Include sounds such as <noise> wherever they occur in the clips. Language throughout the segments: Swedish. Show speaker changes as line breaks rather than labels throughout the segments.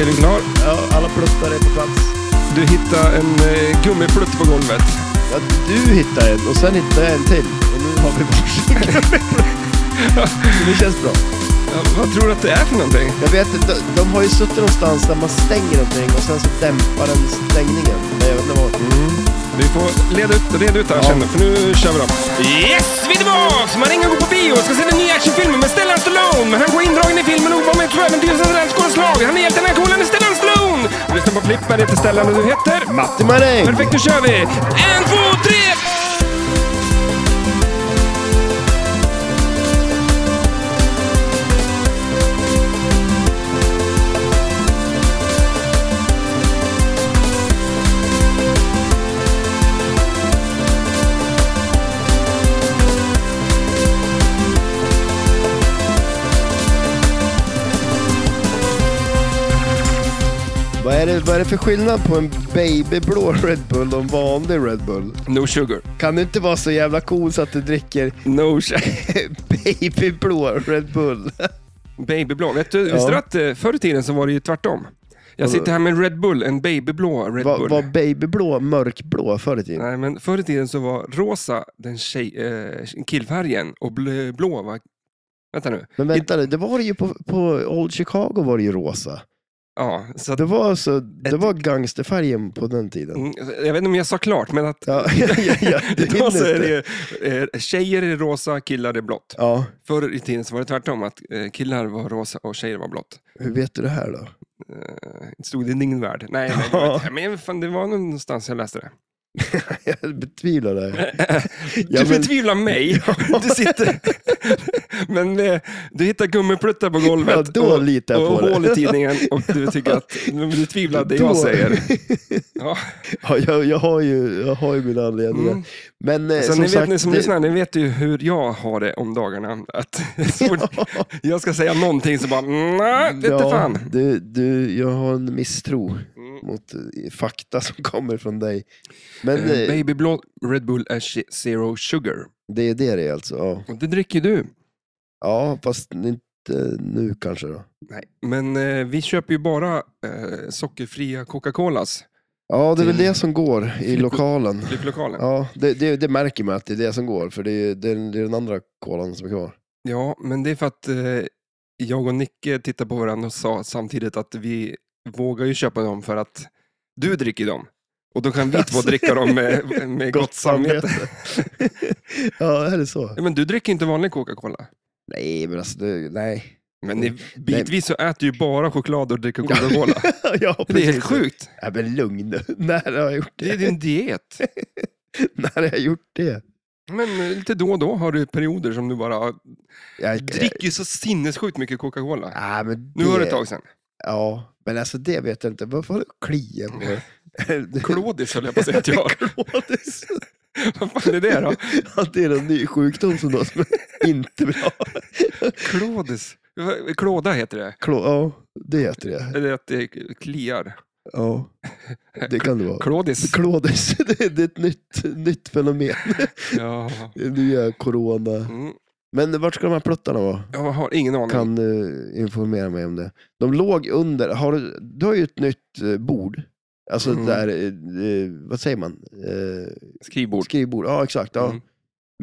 Är du klar?
Ja, alla pluttar är på plats.
Du hittar en eh, gummiplutt på golvet.
Ja, du hittar en och sen hittar jag en till. Och nu har vi varsin <laughs> gummiplutt. Så det känns bra.
Ja, vad tror du att det är för någonting?
Jag vet inte, de, de har ju suttit någonstans där man stänger någonting och sen så dämpar den stängningen. Nej, jag vet inte vad.
Vi får leda ut, reda ut det här
Ja.
sen, för nu kör vi då. Yes, vi är tillbaks! Man ringer och går på bio och ska se den nya actionfilmen med Stellan Stallone. Men han går indragen i filmen och var med i Troäventyrsens randskålslag. Han är hjälten i aktionen med Stellan Stallone! Lyssna på Flipper, heter Stellan och du heter?
Matti Maräng!
Perfekt, nu kör vi! En, två, tre!
Vad är, det, vad är det för skillnad på en babyblå Red Bull och en vanlig Red Bull?
No sugar.
Kan du inte vara så jävla cool så att du dricker <laughs>
No sugar. <laughs>
babyblå Red Bull? <laughs>
Babyblå. Vet du, visste du att eh, förr i tiden så var det ju tvärtom? Jag sitter här med en Red Bull, en babyblå Red
Var,
Bull.
var babyblå mörkblå förr i tiden?
Nej, men förr i tiden så var rosa den tjej, eh, killfärgen och bl- blå var... Vänta nu.
Men vänta nu, det var det ju på, på Old Chicago var det ju rosa.
Ja, så att,
Det var, alltså, det
Ett-
var gangsterfärgen på den tiden.
Mm, jag vet inte om jag sa klart, men
<laughs>
att
Ja, ja, ja, du
idag så
hinner
är
inte.
<laughs> det ju, eh, tjejer är rosa, killar är blått.
Ja,
Förr i tiden så var det tvärtom, att eh, killar var rosa och tjejer var blått.
hur vet du det här då? <laughs>
Eh, stod det i din värld? Nej, nej det, var, men fan, det var någonstans jag läste det.
Jag betvivlar det.
<laughs> Du
Ja, men-
betvivlar mig.
<laughs>
Du sitter... <laughs> Men eh, du hittar gummipluttar på golvet
Ja, då
och,
litar jag
och
på
hål i
det.
tidningen och du tycker
<laughs>
att men du tvivlar det jag
Då-
säger. Ja.
<laughs> Ja, jag, jag, har ju, jag har ju mina anledningar.
Mm.
Men eh,
Så
som
ni vet,
sagt,
ni som
det- <laughs>
lyssnar, ni vet ju hur jag har det om dagarna. Att <laughs> så fort jag ska säga någonting så bara, nej, vet du fan.
Du, du, jag har en misstro
Mm.
mot eh, fakta som kommer från dig. Men
Eh,
eh,
Babyblå Red Bull är shi- zero sugar.
det är det det är alltså. Ja,
Och det dricker du.
ja fast inte nu kanske då.
Nej. Men eh, vi köper ju bara eh, sockerfria Coca-Colas
Ja, det är väl
Till-
det som går i
Flipp-
lokalen.
i lokalen.
Ja, det, det, det märker man att det är det som går, för det är, det är, det är den andra kolan som är kvar.
Ja, men det är för att eh, jag och Nicke tittade på varandra och sa samtidigt att vi vågar ju köpa dem för att du dricker dem. Och då kan vi två
Alltså.
dricka dem
<laughs>
med, med gott, samvete.
ja, är det så?
Ja, Men du dricker inte vanlig Coca-Cola.
Nej, men alltså, det, nej. <laughs>
Men ni, bitvis så äter ju bara choklad och dricker
<laughs>
Coca-Cola.
ja,
Det är
precis.
helt sjukt.
Ja, men lugn nu. <laughs> När har jag gjort
Det
det?
är din diet.
<laughs> När har jag gjort det?
Men eh, lite då och då har du perioder som du bara
Jag,
dricker ju så sinnessjukt mycket Coca-Cola.
Ja, men det,
Nu var det ett tag sedan.
Ja, men alltså det vet jag inte. Varför har du
<laughs>
kliat på mig?
Klådis höll jag på
<laughs>
att säga att jag har.
Klådis.
Vad fan är det då?
Ja, det är en ny sjukdom som då som är inte bra.
Klådis. Klåda heter det.
Klå, ja, det heter det.
Eller att det kliar.
Ja, det kan det vara.
Klådis.
Klådis, <laughs> det är det är ett nytt, nytt fenomen.
Ja.
Det nya corona.
Mm.
Men vart ska de här pluttarna vara?
Jag har ingen aning.
Kan du informera mig om det? De låg under, har du, du har ju ett nytt eh, bord. Alltså
Mm.
där, eh, eh, vad säger man? Eh,
Skrivbord.
skrivbord, ja exakt. Ja.
Mm.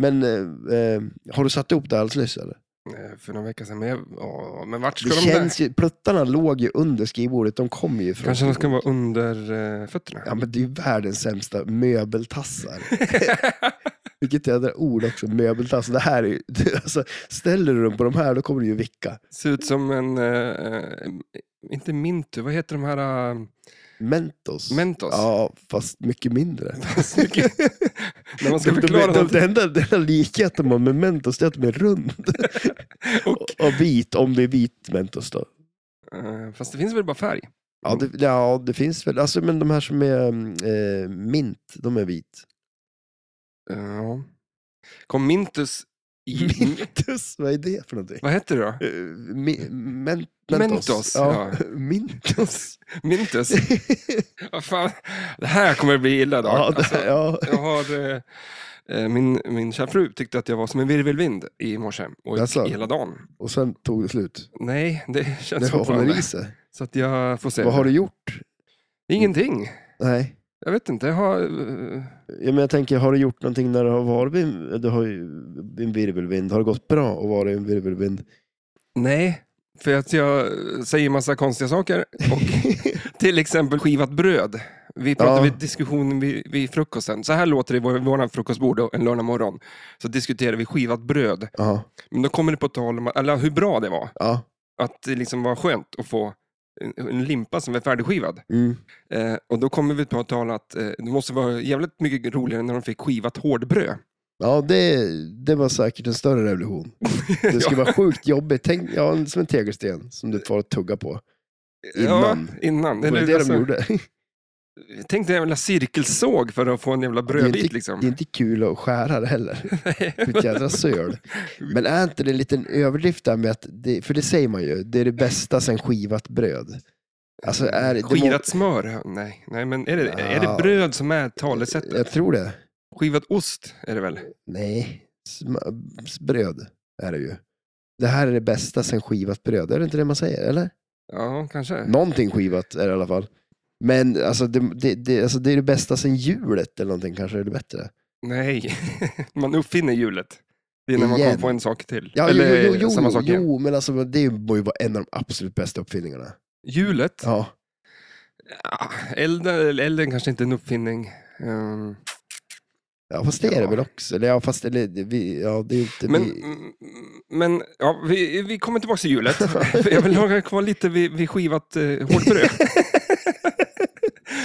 Men eh, eh, har du satt ihop det alldeles nyss eller?
Eh, För några veckor sedan. Men, jag, ja, men vart ska
Det
de där?
känns ju, pluttarna låg ju under skrivbordet, de kom ju från
Kanske de ska
skrivbordet.
vara under eh, fötterna.
Ja men det är ju världens sämsta möbeltassar.
<laughs>
Vilket jädra ord också, möbeltassar. Det här är ju, alltså, ställer du dem på de här då kommer du ju vicka.
Ser ut som en, eh, eh, inte mintu, vad heter de här, eh,
Mentos.
mentos? <laughs>
Ja, fast mycket mindre.
Fast mycket- När man ska
<laughs> de, de,
förklara
de,
något.
det enda, det enda likheten man med Mentos det är att de är rund
<laughs> Och,
och, och vit, om det är vit Mentos då.
eh, fast det finns väl bara färg?
Ja det, ja, det finns väl. Alltså, men de här som är mm, eh, mint, de är vit.
Ja. Kom mintus
<laughs>
i...
Mintus, vad är det för någonting?
vad heter det då?
Eh, mi- men,
Mentos,
Ja.
ja.
<laughs>
<laughs>
Mintos.
Mintus? Vad fan, det här kommer bli illa idag.
<laughs> ja, det,
Alltså,
ja.
Jag har eh, eh, min, min kära fru tyckte att jag var som en virvelvind i morse och gick
Jaså?
hela dagen.
Och sen tog det slut.
Nej, det <laughs>
Det
känns
har hon
fortfarande.
i sig.
Så att jag får se.
Vad har du gjort?
Ingenting.
Nej.
Jag vet inte. Jag har... eh,
Ja, men jag tänker, har du gjort någonting när du har varit en, du har ju en virvelvind? Har det gått bra att vara i en virvelvind?
Nej, för att jag säger massa konstiga saker.
<laughs>
Och till exempel skivat bröd. Vi pratade
Ja.
vid diskussionen vid, vid frukosten. Så här låter det i vår, våran frukostbord då, en lördag morgon. Så diskuterar vi skivat bröd.
ja.
Men då kommer det på tal om eller hur bra det var.
ja.
Att det liksom var skönt att få en- en limpa som är färdigskivad.
Mm.
Eh, och då kommer vi på tal att eh, det måste vara jävligt mycket roligare när de fick skivat hårdbröd.
Ja, det, det var säkert en större revolution. Det skulle <laughs> vara sjukt jobbigt. Tänk, ja, som en tegelsten som du får tugga på. innan.
Ja, innan.
Det var
Eller,
det det
alltså,
de gjorde. <laughs>
Tänk dig en jävla cirkelsåg för att få en jävla
Det är,
brödbit
inte, det är
liksom.
inte kul att skära det heller.
<laughs>
Vilket jädra söl. Men är inte det en liten överdrift där med att, det, för det säger man ju, det är det bästa sen skivat bröd. Alltså är det, det må- Ah.
Skivat smör? Nej, nej men är det, är
Ja.
det bröd som är talesättet?
Jag tror det.
Skivad ost är det väl?
Nej, sma- s- bröd är det ju. Det här är det bästa sen skivat bröd, är det inte det man säger? Eller?
Ja, kanske.
Någonting skivat är det i alla fall. Men alltså det, det, det, alltså det är det bästa sen hjulet eller någonting kanske är det bättre.
Nej, <laughs> man uppfinner hjulet. Det är när man
Igen.
kommer på en sak till.
Ja,
Eller
jo, jo, jo,
samma sak
jo,
igen.
jo, men alltså det må ju vara en av de absolut bästa uppfinningarna.
Hjulet?
Ja.
Ja, elden, elden kanske inte är en uppfinning. Ehm,
Ja, fast det är det
Ja.
väl också. Eller, ja, fast eller, det- vi, ja, det är ju inte
men
vi.
mm, men ja, vi, vi kommer tillbaka till
<laughs>
hjulet. För jag vill hålla kvar lite vid, vid skivat eh, hårt bröd.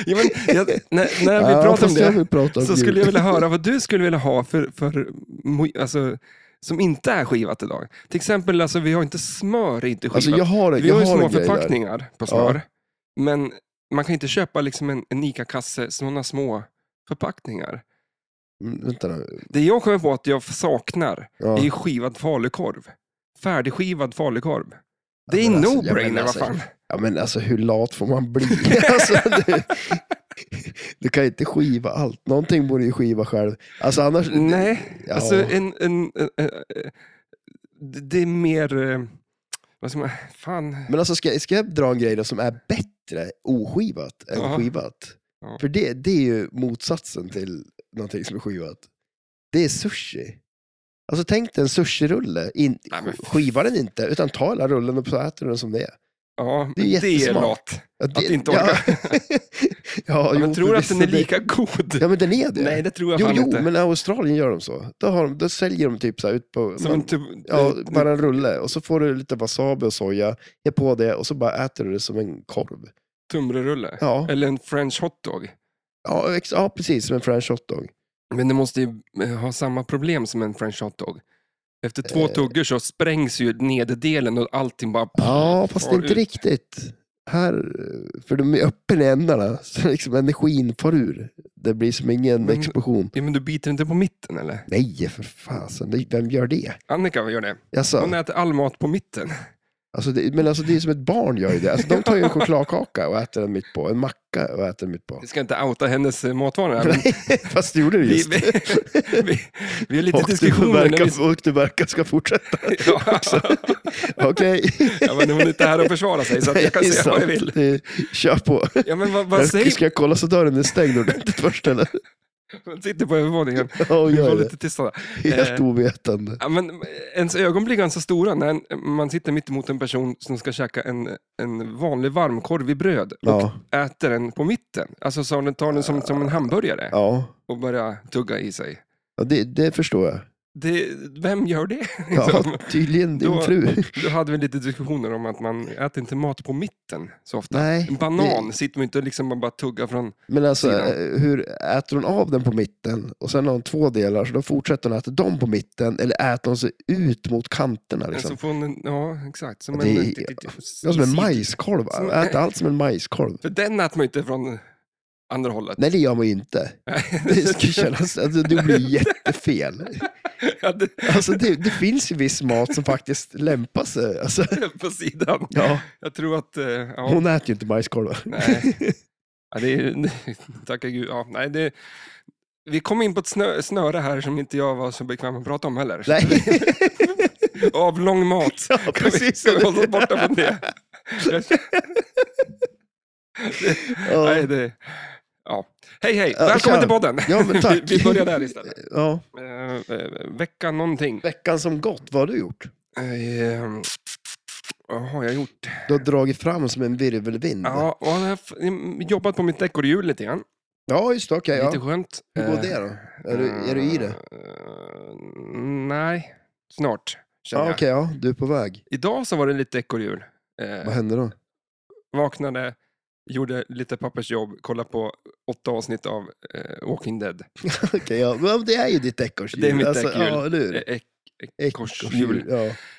ja, men, jag, när, när vi
ja,
pratar om
fast
det.
jag vill prata om
så
jul.
skulle jag vilja höra vad du skulle vilja ha för, för mo- alltså, som inte är skivat idag. Till exempel, alltså, vi har inte smör är inte skivat.
Alltså jag har,
vi
jag
har ju
har
små
en grej där.
förpackningar på smör, men man kan inte köpa liksom en, en ICA-kasse, sådana små förpackningar.
Mm, Vänta nu.
Det jag kommer på att jag saknar
Ja.
är ju skivad falukorv. Färdigskivad falukorv. Det är
Ja, men alltså, ja, men
no-brainer,
alltså,
vad
<laughs>
fan.
ja men alltså hur lat får man bli? <laughs> alltså, du, du kan ju inte skiva allt. Någonting borde ju skiva själv. Alltså annars...
Nej,
Ja.
alltså en, en, eh, eh, eh, det- det är mer, eh, vad ska man, fan.
Men alltså ska, ska jag dra en grej då som är bättre oskivat än
Ja.
skivat?
Ja.
För det, det är ju motsatsen till någonting som är skivat. Det är sushi. Alltså tänk dig en sushirulle, in,
Nej, men-
skiva den inte, utan ta hela rullen och så äter du den som det är.
Ja,
Det är
men det är
jättesmart.
lat.
Ja,
Att inte
<laughs> Ja,
orka.
ja,
Ja,
jo,
men tror du att den
förvisso,
är
det-
lika god?
Ja men den är det.
Nej, det tror jag
jo,
fan
jo
inte.
men i Australien gör de så. Då, har de, då säljer de typ så här ut på...
Som
man,
en tub...
Ja, bara en rulle. Och så får du lite wasabi och soja, ge på det och så bara äter du det som en korv.
tumrerulle.
Ja,
Eller en french hotdog.
ja, ex- ja precis, som en french hotdog.
Men det måste ju eh, ha samma problem som en french hotdog. Efter två
Eh.
tuggor så sprängs ju nederdelen och allting bara...
Ja, fast
far
inte
ut.
riktigt. Här, för de är öppen i ändarna, <laughs> så liksom energin far ur. Det blir som ingen
Men-
explosion.
Ja, men du biter inte på mitten eller?
Nej, för fasen, det- vem gör det?
Annika gör det. Hon
Alltså,
äter all mat på mitten.
alltså det, men alltså det är som ett barn gör ju det. Alltså, de tar
<laughs>
ju en chokladkaka och äter den mitt på, en macka och äter den mitt på.
Vi ska inte outa hennes eh, matvanor här,
<laughs>
men
Fast det gjorde du
vi,
just.
vi, <laughs> vi, vi har lite
Och du,
diskussioner. När vi,
verkar, och du verkar ska fortsätta.
<laughs> ja, alltså.
Okej.
ja, men hon är inte här och försvarar sig så att jag kan
<laughs> Det är
säga vad jag
sant.
vill.
Det- Kör på.
Ja, men vad, vad säger
Ska jag kolla så dörren är stängd ordentligt först eller?
Man sitter på övervåningen.
Ja,
Vi var
gör det.
lite tysta där.
Helt
Eh.
ovetande.
Ja, men ens ögon blir ganska stora när en- man sitter mitt emot en person som ska käka en, en vanlig varmkorv i bröd och
Ja,
äter den på mitten. Alltså så den tar den som, som en hamburgare
ja.
och börjar tugga i sig.
ja det, det förstår
<laughs>
jag.
Det, vem gör det?
Ja, tydligen din
Då-
fru.
Då hade vi lite diskussioner om att man äter inte mat på mitten så ofta.
Nej,
En banan sitter man inte och liksom bara- bara tugga från...
men alltså
Sidan.
eh, hur äter hon av den på mitten och sen har hon två delar så då fortsätter hon äta dem på mitten eller äter hon sig ut mot kanterna
Så
liksom.
får hon, alltså ja, exakt. Som
Det är-
en,
Ja, som en majskolv.
Som-
Äter allt som en majskolv.
För den äter man ju inte från andra hållet.
Nej, det gör man ju inte. <laughs>
<laughs>
Det ska kännas, alltså, det blir jättefel.
Ja, det-
Alltså, det, det finns ju viss mat som faktiskt lämpar sig. Alltså,
på sidan.
ja,
Jag tror att... eh, Ja,
hon äter ju <laughs> inte majskolvar.
nej. Ja, det är, tacka gud. Ja, nej, det, Vi kom in på ett snö, snöre här som inte jag var så bekväm att prata om heller.
Nej,
<laughs> Avlång mat.
ja, <laughs> precis.
Ska vi hålla oss borta från det? Nej,
ja.
det... Ja. Hej, hej!
Ja,
Välkommen
tja.
till podden!
ja, men tack.
<laughs> Vi börjar där istället.
Ja.
Eh, eh, vecka någonting.
Veckan som gått, vad har du gjort?
Eh, Vad har jag gjort?
Du har dragit fram som en virvelvind.
Ja, och jag har f- jobbat på mitt ekorrhjul lite grann.
ja just det. Okej,
Lite
ja.
skönt.
Hur går
Eh,
det då? Är du, är du i det?
Eh, nej, snart.
Ja,
känner
Ah, okej,
jag.
ja. Du är på väg.
Idag så var det lite ekorrhjul.
Vad
Eh,
hände då? <laughs>
vaknade, gjorde lite pappersjobb, kollade på åtta avsnitt av eh, Walking Dead.
okej, ja. Men det är ju ditt ekorrshjul. Alltså,
Det är mitt ekorrhjul.
Ja, eller hur?
Eh,
Ekorrshjul.
Ekorrhjul.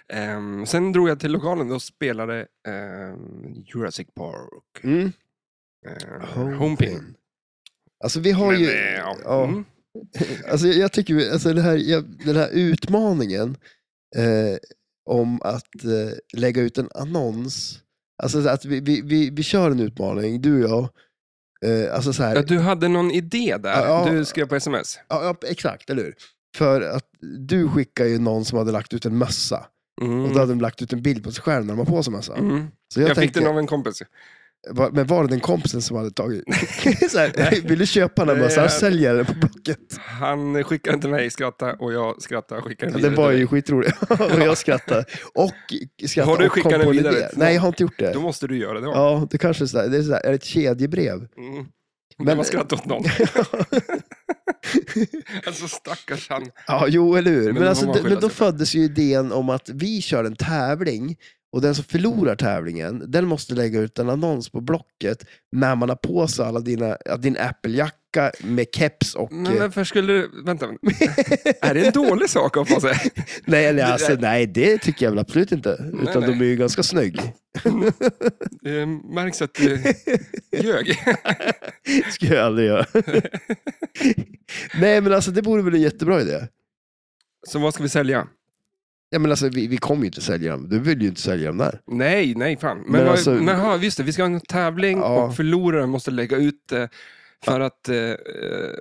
Ja.
Ehm, sen drog jag till lokalen och spelade ehm, Jurassic Park.
Mm.
Ehm,
Home
Homepin.
pin. Alltså vi har
Men,
ju...
eh, ja.
Ja.
Mm.
Alltså, jag tycker ju- alltså, den, här, jag, den här utmaningen eh, om att eh, lägga ut en annons. Alltså så att vi, vi, vi, vi kör en utmaning, du och jag. Eh, alltså så här,
Ja, du hade någon idé där.
Ja, ja.
Du skrev på sms.
ja, ja, exakt, eller hur? För att du skickar ju någon som hade lagt ut en mössa.
Mm.
Och då hade de lagt ut en bild på sig själv när de har på sig mössan.
Mm.
Så
Jag,
jag,
fick
tänkte,
den av en kompis.
va- men var det den kompisen som
<laughs>
hade tagit <laughs> så här, Vill du köpa den här
Nej,
mössan?
jag-
Jag säljer den på Blocket.
Han skickade till mig, skratta och jag skrattade och skickade
Den var ju skitrolig.
<laughs>
och jag skrattade. Och skrattade
Har du
och kom
skickat den
på en
vidare
idé.
till någon?
Nej, jag har inte gjort det.
Då måste du göra det. Ja.
Ja, det kanske är, sådär, det är, sådär, är det ett kedjebrev.
Mm. Men... Det
Men-
var skratt åt
<laughs>
någon. alltså stackars han.
Ja, jo, eller hur. Men,
det får
alltså,
man
det,
skylla
men då
sig för.
föddes ju idén om att vi kör en tävling och den som förlorar tävlingen, den måste lägga ut en annons på Blocket när man har på sig alla dina, ja, din Apple-jacka med keps och...
Men
eh,
varför skulle du... Vänta. är det en dålig sak att få
<laughs>
säga?
nej, eller,
det-
alltså, nej, det tycker jag väl absolut inte. Utan
nej.
de är ju ganska snygg.
Det märks att du ljög.
skulle jag
<laughs>
aldrig göra. nej, men alltså det vore väl en jättebra idé.
Så vad ska vi sälja?
Ja, men alltså, vi, vi kommer ju inte sälja dem. Du vill ju inte sälja dem där.
Nej, nej fan. Men,
Men
vad,
alltså-
men ha, just det, vi ska ha en tävling
Ja.
och förloraren måste lägga ut det. För att, eh,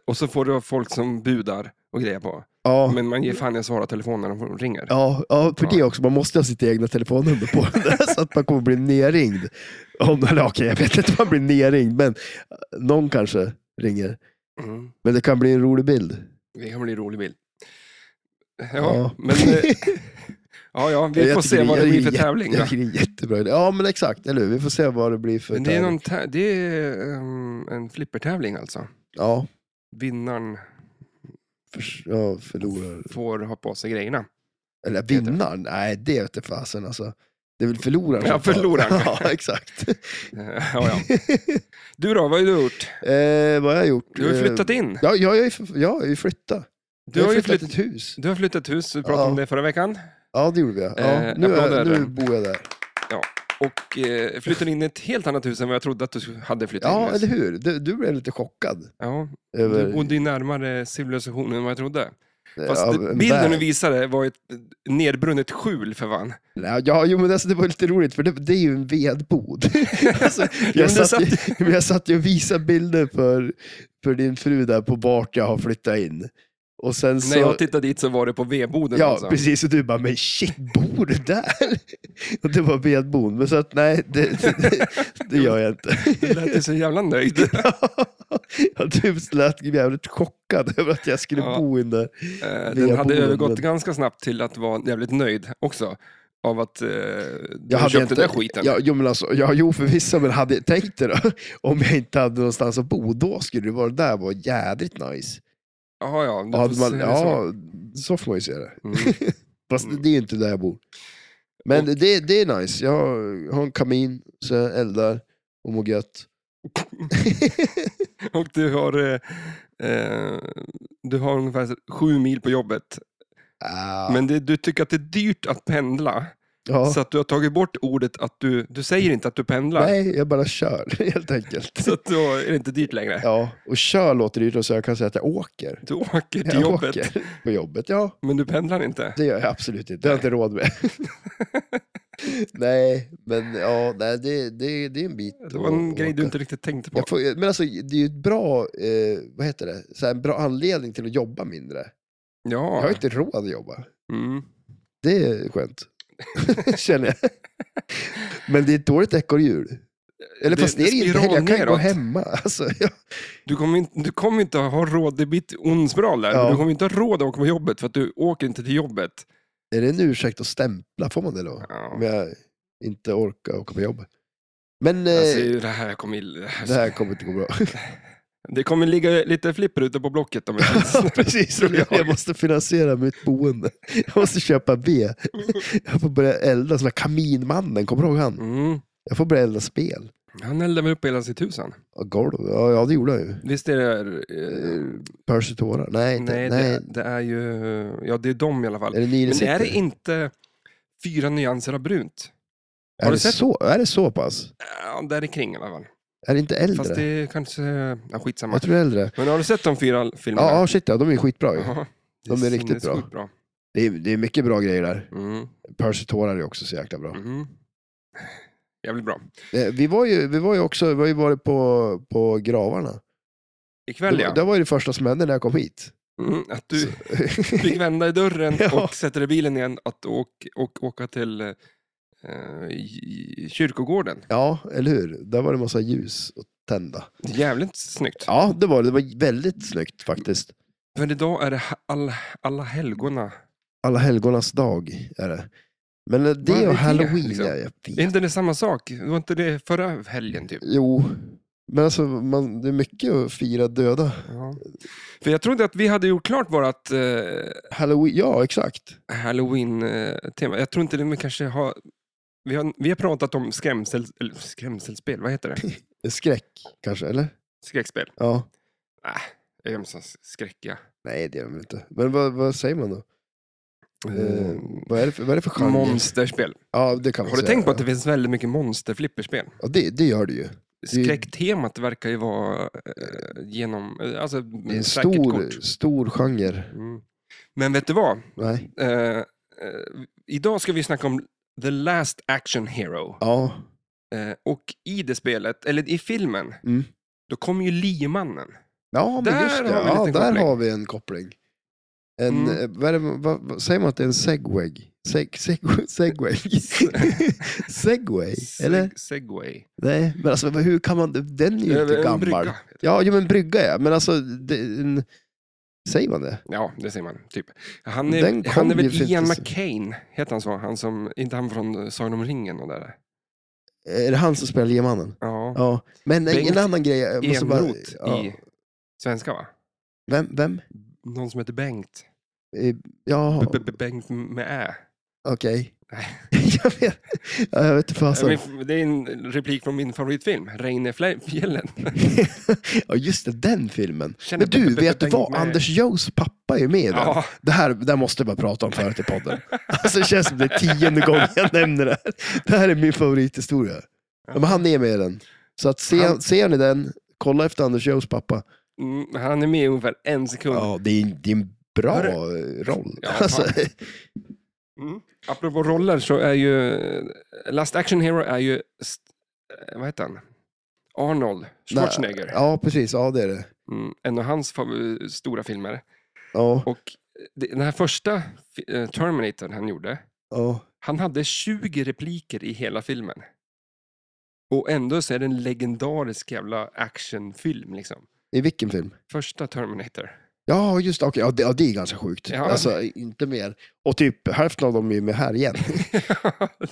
och så får du ha folk som budar och grejer på.
Ja.
Men man ger fan i att svara telefonen när de ringer.
Ja, ja för
Ja.
det också. Man måste ha sitt egna telefonnummer på den där, så att man kommer bli nerringd. Om, eller okej, jag vet inte om man blir nerringd, men någon kanske ringer.
Mm.
Men det kan bli en rolig bild.
Det kan bli en rolig bild. Ja,
Ja.
men...
<laughs>
eh, Ja, ja, vi
Jag
får
tycker
se vad det
jag
blir för
tycker är
tävling. va?
jä- Jag tycker det är en jättebra idé. Ja, men exakt. Eller hur? Vi får se vad det blir för
Men det är,
tävling.
någon tä- det är ehm, en flippertävling alltså.
Ja,
Vinnaren
för, ja förlorar.
får ha på sig grejerna. <laughs>
Eller
Heter det.
vinnaren? Nej, det vete fasen alltså. Det är väl förloraren
Ja,
som tar-
förloraren.
<laughs> ja, exakt.
Eh,
<laughs>
Ja, ja. Du då, vad har du gjort?
Eh, vad har jag gjort?
Du har ju flyttat in.
Eh, Ja, jag har ju jag har ju flyttat.
Du
jag
har ju
flyttat
flytt-
ett hus.
Du har flyttat hus, vi pratade
Ja.
om det förra veckan.
Ja, det gjorde vi. Ja.
Eh,
nu, är,
applåder.
nu bor jag där.
Och eh, flyttade in i ett helt annat hus än vad jag trodde att du hade flyttat in.
Ja,
i.
eller hur? Du, du blev lite chockad.
ja,
Över,
du bodde ju närmare civilisationen än vad jag trodde.
eh,
Fast
av
det-
en
bilden
värld.
du visade var ett nedbrunnet skjul för fan.
Nej, Ja, jo, men alltså, det var lite roligt, för det, det är ju en vedbod. <laughs> alltså,
Ja, men
jag,
det
satt ju, men <laughs> jag satt ju och visade bilder för, för din fru där på vart jag har flyttat in. Och sen så...
När jag tittade dit så var det på vedboden.
Ja,
alltså.
precis. Och du bara, men shit, bor du där? <laughs> Och det var vedbon. Men så att nej, det, <laughs> det, det gör jag inte.
Du lät ju så jävla
<laughs>
nöjd.
ja, du lät jävligt chockad över att jag skulle
Ja.
bo in där.
Eh, Den
Vedboden,
hade övergått
men-
ganska snabbt till att vara jävligt nöjd också. Av att eh, du
Jag
köpte
hade inte,
den där skiten.
Ja, jo, men alltså, ja, jo förvisso, men hade, tänk dig då, <laughs> om jag inte hade någonstans att bo, då skulle det vara där var jädrigt nice.
ja, ja, du
Och hade
får
man,
se det
ja, så får man ju se det.
så. Mm.
Fast
Mm.
det är ju inte där jag bor. Men det, det är nice. Jag har- har en kamin, så jag eldar och mår gött.
<laughs> Och du har, eh, eh, du har ungefär sju mil på jobbet.
Ah,
Men det, du tycker att det är dyrt att pendla.
ja.
Så att du har tagit bort ordet att du, du säger inte att du pendlar.
Nej, jag bara kör <laughs> helt enkelt.
Så att då är det inte dyrt längre.
Ja, och kör låter det ju då, så jag kan säga att jag åker.
Du åker till
Jag
jobbet,
åker på jobbet, ja.
men du pendlar inte. <laughs>
Det gör jag absolut inte. Det har jag inte råd med. Nej, Men ja, nej, det, det, det är en bit.
Det var en
att
grej du
åka.
inte riktigt tänkte på.
jag får, Men alltså, det är ju ett bra, eh, vad heter det, så här, en bra anledning till att jobba mindre. Jag har
Ja.
inte råd att jobba.
Mm.
Det är skönt. <laughs> Känner jag. Men det är ett dåligt ekorrhjul. Eller
Det-
fast det,
det
är det inte
spiral
heller. Jag kan ju gå
neråt.
hemma. Alltså, jag,
Du kommer inte, du kommer inte ha råd, det blir ett ond spiral där.
Ja.
Du kommer inte ha råd att åka på jobbet för att du åker inte till jobbet.
är det en ursäkt att stämpla? Får man det då?
Ja.
Om jag inte orkar åka på jobb. Men
Alltså,
eh,
det, här kommer, det,
det
här,
här kommer inte
<laughs>
gå bra.
det kommer ligga lite flipper ute på Blocket om en
<laughs>
stund.
Precis,
tror jag.
jag. jag måste finansiera mitt boende. Jag måste köpa ved. Jag får börja elda, som den här kaminmannen, kommer du ihåg han?
mm.
Jag får börja elda spel.
Han eldade väl upp hela sitt hus han.
Och golv, ja, ja det gjorde jag ju.
Visst är det... Eh,
Eh, Percy tårar. Nej, inte-
nej,
nej.
Det, det är ju... Ja, det är de i alla fall.
Är det Nile
Men
City?
är det inte fyra nyanser av brunt?
Är
har
det
du sett-
Så, är det så pass?
Ja, där i kring i alla fall.
Är det inte äldre?
Fast det är kanske... Ja, skitsamma.
Jag tror det är äldre.
Men har du sett de fyra filmerna?
Ja, ja shit ja, de är ju skitbra ju.
Ja,
De är riktigt bra.
sinnessjukt bra.
Det är, det är mycket bra grejer där.
Mm,
Percy tårar är också så jäkla bra.
mm. Jävligt bra.
Eh, Vi var ju, vi var ju också, vi har ju varit på, på gravarna.
Ikväll
det,
ja.
var- det var ju det första som hände när jag kom hit.
Mm, att du <laughs>
Så-
fick vända i dörren
<laughs> Ja.
och sätta dig i bilen igen att och, och åka till eh, i- kyrkogården.
ja, eller hur? Där var det massa ljus att tända.
Jävligt snyggt.
Ja, det var det. Det var väldigt snyggt faktiskt.
För idag är det ha- all, alla helgona.
Alla helgonas dag är det. Men eh,
Vad är
det
det,
och halloween,
liksom?
ja, jag vet.
Är inte det samma sak? Det var inte det förra helgen typ?
Jo, men alltså man, det är mycket att fira döda.
Ja. För jag trodde att vi hade gjort klart vårt eh,
Halloween, ja exakt.
halloween-tema. Jag tror inte det, men kanske har... Vi har, vi har pratat om skrämsel, eller skrämselspel, vad heter
<laughs>
det?
Skräck kanske, eller?
Skräckspel.
Ja.
Jag är så skräckiga.
Nej, det gör de väl inte. Men vad, vad säger man då? Eh,
Eh,
vad, är det för, vad är det för genre?
monsterspel.
Ja, det kan man
Har du
säga.
tänkt på att det finns väldigt mycket monsterflipperspel?
Ja, det, det gör det ju. Det är-
Skräcktemat verkar ju vara eh, genom... eh, Alltså,
Det är en
säkert
stor,
kort.
stor genre.
Mm. Men vet du vad?
Nej.
Eh, eh, idag ska vi snacka om The Last Action Hero.
Ja,
Eh, och i det spelet, eller i filmen,
Mm.
då kommer ju liemannen.
ja men
Där
just det.
har vi en
Ja, där
liten koppling.
har vi en koppling. En,
Mm.
eh, vad är det, vad, vad, säger man att det är en segway? Seg, seg, <laughs> segway? segway? <laughs> Eller?
Seg- Segway.
Nej, men alltså vad- hur kan man... Den är ju
Över
inte
en
gammal.
brygga.
Ja, jo, men brygga ja. Men alltså, det, en, säger man det?
Ja, det säger man. Typ. Han, är,
Den kom
han är
ju
väl
för inte
Ian
så-
McCain, heter han så? Han som, inte han från Sagan om ringen och där?
Är det han som spelar Liemannen?
Ja.
Ja, men en-
Bengt
en annan grej. Jag måste bara,
Enroth
ja.
i svenska va?
Vem? vem?
Någon som heter Bengt.
Eh, Ja,
B- B- Bengt med Ä.
okej.
Nej.
<laughs> jag vet ja, jag vet inte fasen.
Men Det är en replik från min favoritfilm, Reine Fla- fjällen.
<laughs> Ja, just det, den filmen.
Känner
Men du,
B- B-
vet du
Bengt
vad?
med-
Anders Joes pappa är med i den.
Ja,
Det här, det här måste jag bara prata om förut i podden. Alltså, det känns som det är tionde gången jag nämner det här. Det här är min favorithistoria. Ja, men han är med i den. Så att se,
Han-
ser ni den, kolla efter Anders Joes pappa.
mm, han är med i ungefär en sekund.
Ja, det är, det är en bra roll.
Ja,
alltså,
Mm. Apropå roller så är ju Last Action Hero är ju, st- eh, vad heter han? Arnold Schwarzenegger.
<laughs> ja, precis. Ja, det är det.
Mm, en av hans fav- stora filmer.
Ja,
Och det- den här första fi- eh, Terminator han gjorde,
ja.
han hade 20 repliker i hela filmen. Och ändå så är det en legendarisk jävla actionfilm liksom.
I vilken film?
Första Terminator. <laughs>
Ja, just det. Okej, ja, det. Ja, det är ganska sjukt.
Ja.
Alltså, inte mer. Och typ hälften av dem är ju med här igen.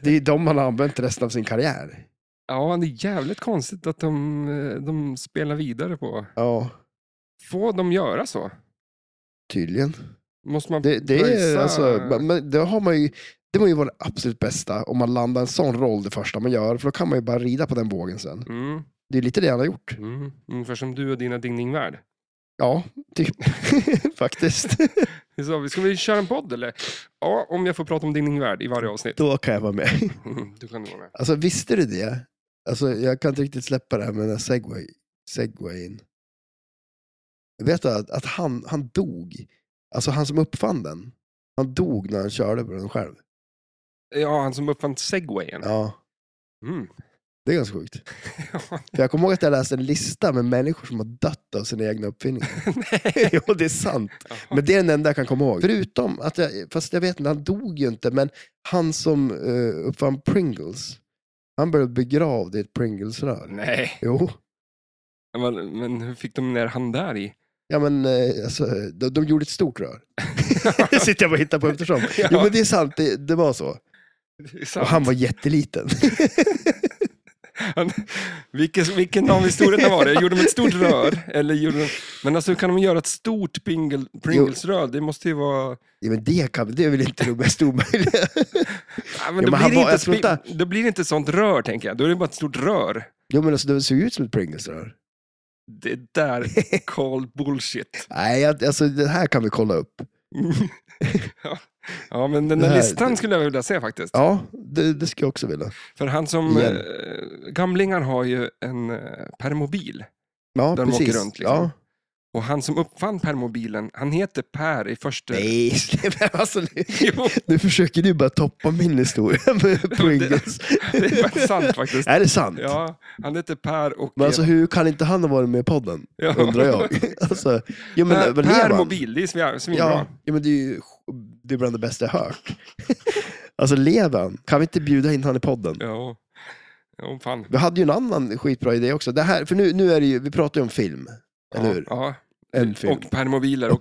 Det är de han har använt resten av sin karriär.
ja, det är jävligt konstigt att de, eh, de spelar vidare på.
Ja,
Får de göra så?
tydligen.
Måste man
Det, det, är,
pröjsa-
alltså, men det har man ju... Det var ju vara det absolut bästa om man landar en sån roll det första man gör, för då kan man ju bara rida på den vågen sen.
Mm,
Det är lite det han har gjort.
mm, ungefär som du och dina Ding Ding Värld.
Ja, typ. <laughs> Faktiskt.
Vi sa, Ska vi köra en podd eller? Ja, om jag får prata om Ding Ding Värld i varje avsnitt.
Då kan jag vara med.
Mm, Du kan vara med.
Alltså visste du det? Alltså jag kan inte riktigt släppa det här med den här segway, segwayin. Vet du att, att han, han dog? Alltså han som uppfann den. Han dog när han körde på den själv.
Ja, han som uppfann segwayen.
Ja. <laughs>
Mm. <laughs>
Det är ganska sjukt. För jag kommer ihåg att jag läste en lista med människor som har dött av sina egna <laughs> uppfinningar. jo, det är sant. Men det är den enda jag kan komma ihåg. Förutom att jag, fast jag vet inte, han dog ju inte, men han som eh, uppfann Pringles, han blev begravd i ett Pringles-rör.
<laughs> Nej,
Jo,
men, men hur fick de ner han där i?
ja men eh, alltså, de, de gjorde ett stort rör. Det <laughs> sitter jag bara och hittar på eftersom. <laughs> Jo, men det är sant, det, det var <laughs> så.
Det är
Och
sant.
han var jätteliten. <laughs>
Han, vilken, vilken av historierna var det? Gjorde de ett stort rör? Eller gjorde de, men alltså hur kan de göra ett stort Pringle, Pringles-rör? Det måste ju vara...
Ja, men det, kan, det är väl inte det mest omöjliga. <laughs>
Ja,
men
men då,
han
blir
var-
det
jag tror
inte,
inte-
spi- då blir det inte ett sånt rör, tänker jag. Då är det bara ett stort rör.
Jo, men alltså, det såg ju ut som ett Pringles-rör.
Det
<laughs>
där, call bullshit.
Nej, jag- alltså, det här kan vi kolla upp.
ja. ja, men den
Det
där
här-
listan skulle jag vilja se faktiskt.
Ja, det, det ska jag också vilja.
För han som...
Igen.
Eh, gamlingar har ju en eh, permobil.
Ja,
Där de
precis.
åker runt, liksom.
ja.
Och han som uppfann permobilen, han heter Per i första...
Nej, <laughs> men alltså, nu,
<laughs> Jo,
nu försöker du bara toppa min historia <laughs> med Pringles.
det är faktiskt sant faktiskt.
Är det sant?
Ja, han heter Per och...
Men alltså hur kan inte han ha varit med i <laughs> podden?
Ja.
Undrar jag. Alltså, jo, men,
per,
vad lever
per
han?
mobil, det är svin- svinbra.
Ja, ja, men det är ju det är bland det bästa jag hört. <laughs> Alltså lever han? Kan vi inte bjuda in han i podden?
Ja. Ja, fan.
Vi hade ju en annan skitbra idé också. Det här, för nu, nu är det ju, vi pratar ju om film, eller hur?
Ja,
En film.
och permobiler och,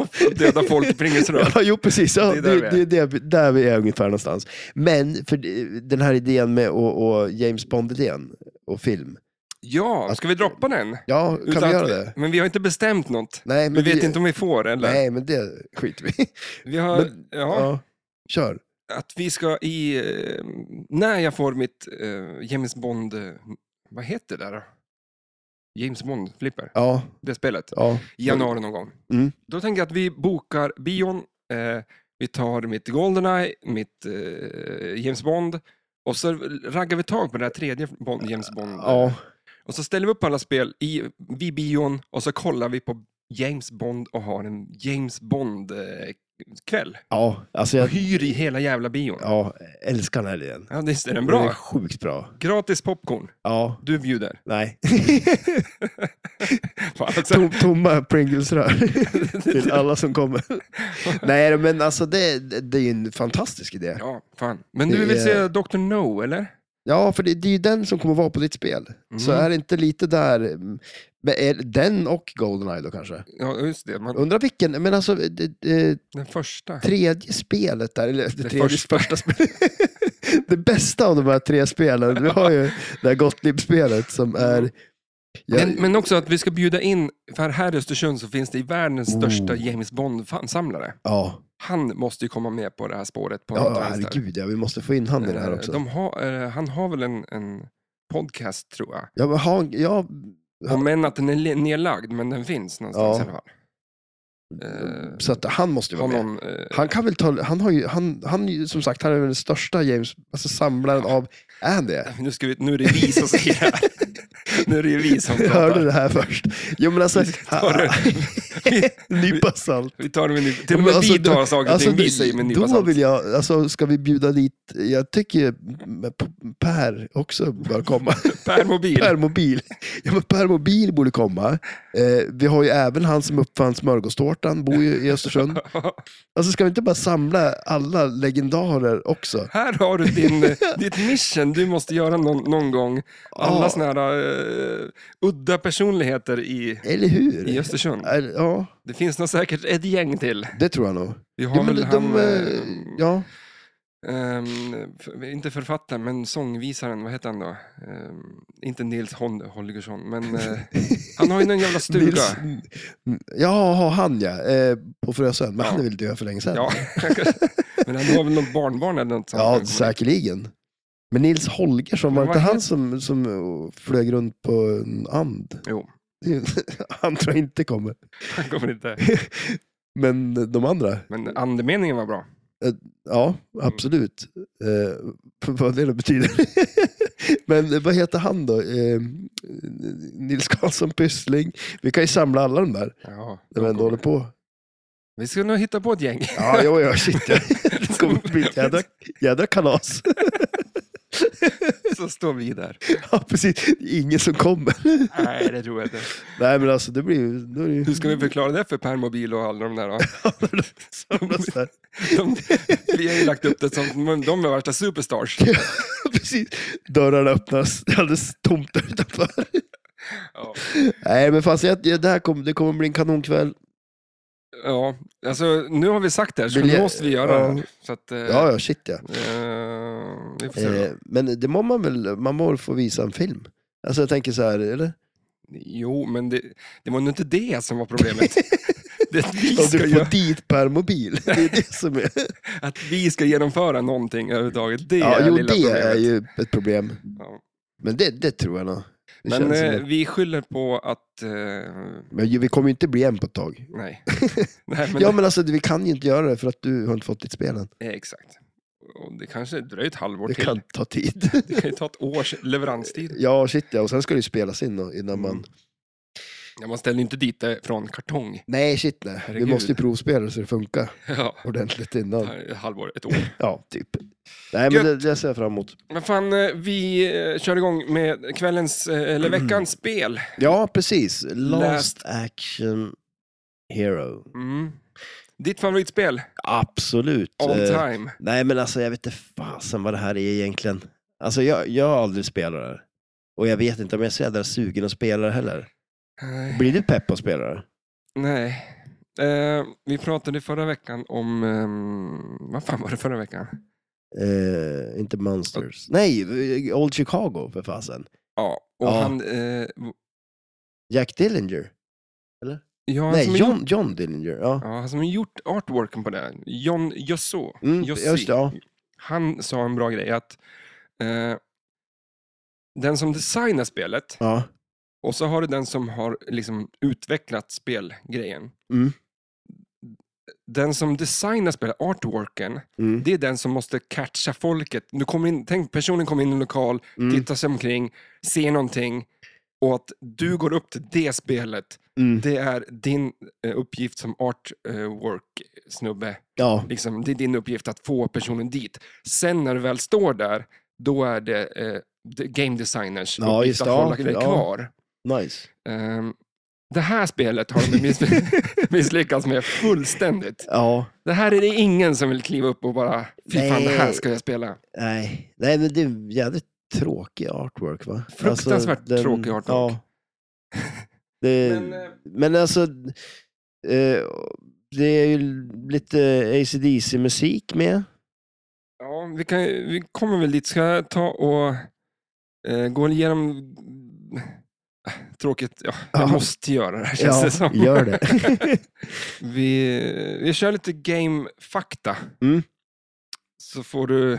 <laughs> och döda folk i Pringelsrör.
<laughs> Ja, jo precis. Ja,
Det är
det,
där
det, det, är där vi är ungefär någonstans. Men för det- den här idén med och, och James Bond-idén och film.
Ja, ska vi droppa den?
Ja, kan
Utan
vi göra
att-
det?
Men vi har inte bestämt något.
Nej, men
Vi vet inte om vi får eller?
Nej, men det skiter vi i.
Vi har,
Men-
ja,
ja. Kör.
att vi ska i, eh, när jag får mitt eh, James Bond, eh, vad heter det där då? James Bond flipper,
Ja,
det spelet,
ja.
i januari någon gång.
Mm.
Då tänker jag att vi bokar bion, eh, vi tar mitt Goldeneye, mitt eh, James Bond och så raggar vi tag på det här tredje Bond, James Bond. eh,
ja.
Och så ställer vi upp alla spel i, vid bion och så kollar vi på James Bond och har en James Bond-kväll.
Ja, alltså
Och
jag
hyr i hela jävla bion. Ja,
ja, älskar den här idén.
visst är den
Den är
bra.
sjukt bra.
Gratis popcorn.
Ja,
Du bjuder.
nej.
<laughs>
<laughs>
Fan, alltså,
Tom, tomma Pringles-rör
<laughs>
<laughs> till alla som kommer. Nej, men alltså det, det är ju en fantastisk idé.
ja, fan. Men du vill se Dr. No, eller?
Ja, för det, det är ju den som kommer vara på ditt spel. Så
Mm.
är det inte lite där, mm, men är det den och Goldeneye då kanske?
Ja, just det. Man,
Undrar vilken, men alltså det, det
den första.
tredje spelet där, eller det,
Det
tredje
första.
första, spelet. <laughs> det bästa av de här tre spelen, vi har ju det här Gottlieb-spelet som är... Jag,
Mm. Men, men också att vi ska bjuda in, för här i Östersund så finns det i världens
Oh.
största James Bond-samlare.
ja,
Han måste ju komma med på det här spåret. På något
ja
vänster.
herregud ja, vi måste få in han i det här
Eh,
också.
De har, eh, han har väl en, en podcast, tror jag.
Ja, men han, ja,
Om än att den är le- nedlagd, men den finns någonstans
Ja.
i alla fall. Eh,
så att han måste ju
har
vara med.
någon, eh,
Han kan väl ta, han har ju, han, han är ju som sagt, han är väl den största James, alltså samlaren av, är han <laughs> det?
eh, Nu, ska vi, nu är det vi som säger det här. <laughs> Nu är det ju vi som
Jag <laughs> hörde
pratar.
det här först. Jo men alltså,
Vi ska <laughs> ta det.
<laughs>
Vi,
nypa salt.
vi tar det med nypa Till och med
Alltså,
vi tar saker och
Alltså,
ting vi säger med en nypa
då
salt.
vill jag, alltså ska vi bjuda dit, jag tycker Per också bör komma.
Per <laughs> mobil.
Per Mobil. Ja, men per Mobil borde komma. Eh, vi har ju även han som uppfann smörgåstårtan, bor ju i Östersund.
<laughs>
Alltså ska vi inte bara samla alla legendarer också?
Här har du
<laughs>
din, eh, ditt mission du måste göra någon, någon gång. Alla
Ja.
såna här eh, udda personligheter i,
Eller hur?
i Östersund.
Eller- Ja,
Det finns nog säkert ett gäng till.
det tror jag nog.
Vi har
Ja, men
väl
de,
han,
eh,
eh,
ja.
Ehm, för- inte författaren, men sångvisaren, vad heter han då? Ehm, inte Nils Hon- Holgersson, men eh,
<laughs>
han har ju någon jävla stuga.
Nils- Ja, han ja. Eh, på Frösön. Men
Ja.
han är väl död för länge sedan?
Ja, <laughs> men han har väl något barnbarn eller något sånt.
Ja, säkerligen. Men Nils Holgersson, var
Men
det inte
vad
han
heter-
som, som eh, flög runt på en and?
Jo,
Det är- <laughs> Han tror jag inte kommer.
han kommer inte.
Men de andra?
Men andemeningen var bra.
Ja, absolut. Eh, för vad det nu betyder. <laughs> Men eh, vad heter han då? Eh, Nils Karlsson Pyssling. Vi kan ju samla alla de där,
Ja,
när vi ändå håller på.
Vi ska nog hitta på ett gäng. <laughs>
Ja, <laughs> jo, ja, shit. ja. Det kommer bli ett jädra, jädra kalas.
så står vi där.
<laughs> Ja, precis. Det är Ingen som kommer.
Nej, det tror jag inte.
Nej, men alltså det blir ju... Då är
<laughs>
det ju...
Hur ska vi förklara det för Permobil och alla de där? då?
Samlas där.
De, vi har ju lagt upp det som de är värsta superstars.
precis. Dörrarna öppnas. Det är alldeles tomt där utanför.
Ja.
Nej, men fast jag, jag, det här kommer, det kommer bli en kanonkväll.
Ja, alltså nu har vi sagt det här, så
Vill
nu
jag-
måste vi göra
ja.
det. här. Så att, eh,
Ja, ja, shit ja.
eh, vi får se då.
Eh, men det må man väl, man må väl få visa en film? Alltså jag tänker så här, eller?
Jo, men det, det var nog inte det som var
<laughs>
problemet. det är att, vi
Om
ska
du
gö-
får dit
<laughs>
per mobil. Det är det som är...
att vi ska genomföra någonting överhuvudtaget, det
Ja,
är
jo, det
lilla problemet.
är ju ett problem.
Ja.
Men det, det tror jag nog. Det
Men
känns som
eh,
det.
vi skyller på att...
<laughs>
Eh,
men ju- vi kommer ju inte bli en på ett tag.
nej. nej men,
ja, men alltså vi kan ju inte göra det för att du har inte fått ditt spel än.
eh, Exakt. Och det kanske dröjer ett halvår
Det
till.
kan
<laughs>
ta tid.
Det kan ju ta ett års leveranstid.
ja, shit ja. Och sen ska det ju spelas in då, innan man...
Mm. Ja, man ställer ju inte dit det från kartong. <laughs>
Nej, shit nej.
Herregud.
Vi måste ju provspela så det funkar
Ja,
ordentligt innan.
ett halvår, ett år.
Ja, typ. Nej,
Gött.
men det, det ser jag fram emot.
Men fan, eh, vi eh, kör igång med kvällens, eh, eller
Mm.
veckans spel.
Ja, precis. Last Action Hero.
Mm. Ditt favoritspel,
Absolut.
all
Eh,
time.
Nej, men alltså jag vet inte fasen vad det här är egentligen. Alltså jag, jag har aldrig spelat det här. Och jag vet inte om jag är så jävla sugen att spela det heller.
Nej.
Blir du pepp på att spela det?
Nej. Eh, vi pratade förra veckan om... ehm, vad fan var det förra veckan?
Eh, inte Monsters. Nej, eh, Old Chicago för fasen.
Ja, och
Ja.
han... Eh, v-
Jack Dillinger.
ja, han som
Nej,
har
John,
Gjort,
John Dillinger. Ja.
ja, han som har gjort artworken på det. här, John Josso.
Mm,
Jossi.
just det, ja.
Han sa en bra grej att eh, den som designar spelet
ja.
Och så har du den som har liksom utvecklat spelgrejen.
Mm.
Den som designar spelet, artworken,
Mm,
det är den som måste catcha folket. Du kommer in, tänk personen kommer in i en lokal,
mm,
tittar sig omkring, ser någonting och att du går upp till det spelet,
mm.
det är din eh, uppgift som artwork-snubbe.
Ja,
Liksom, det är din uppgift att få personen dit. Sen när du väl står där, då är det eh, de- game designers
Ja,
uppgift
just
att
det,
hålla
ja,
dig
ja.
kvar.
nice.
Ehm, det här spelet har de
<laughs>
miss- misslyckats med fullständigt.
Ja,
Det här är det ingen som vill kliva upp och bara, fy fan det här
Nej. Mm.
ska jag spela.
nej. Nej, men det är jävligt tråkig artwork va? Alltså,
Fruktansvärt tråkig artwork.
Ja. Det,
Men,
men,
eh,
alltså, eh, det är ju lite ACDC-musik med.
Ja, vi, kan, vi kommer väl dit, ska jag ta och eh, gå igenom... Ah, Tråkigt, ja, jag
Ja.
måste göra det här känns det som. <laughs>
gör det.
Vi, vi kör lite game-fakta.
Mm.
Så får du...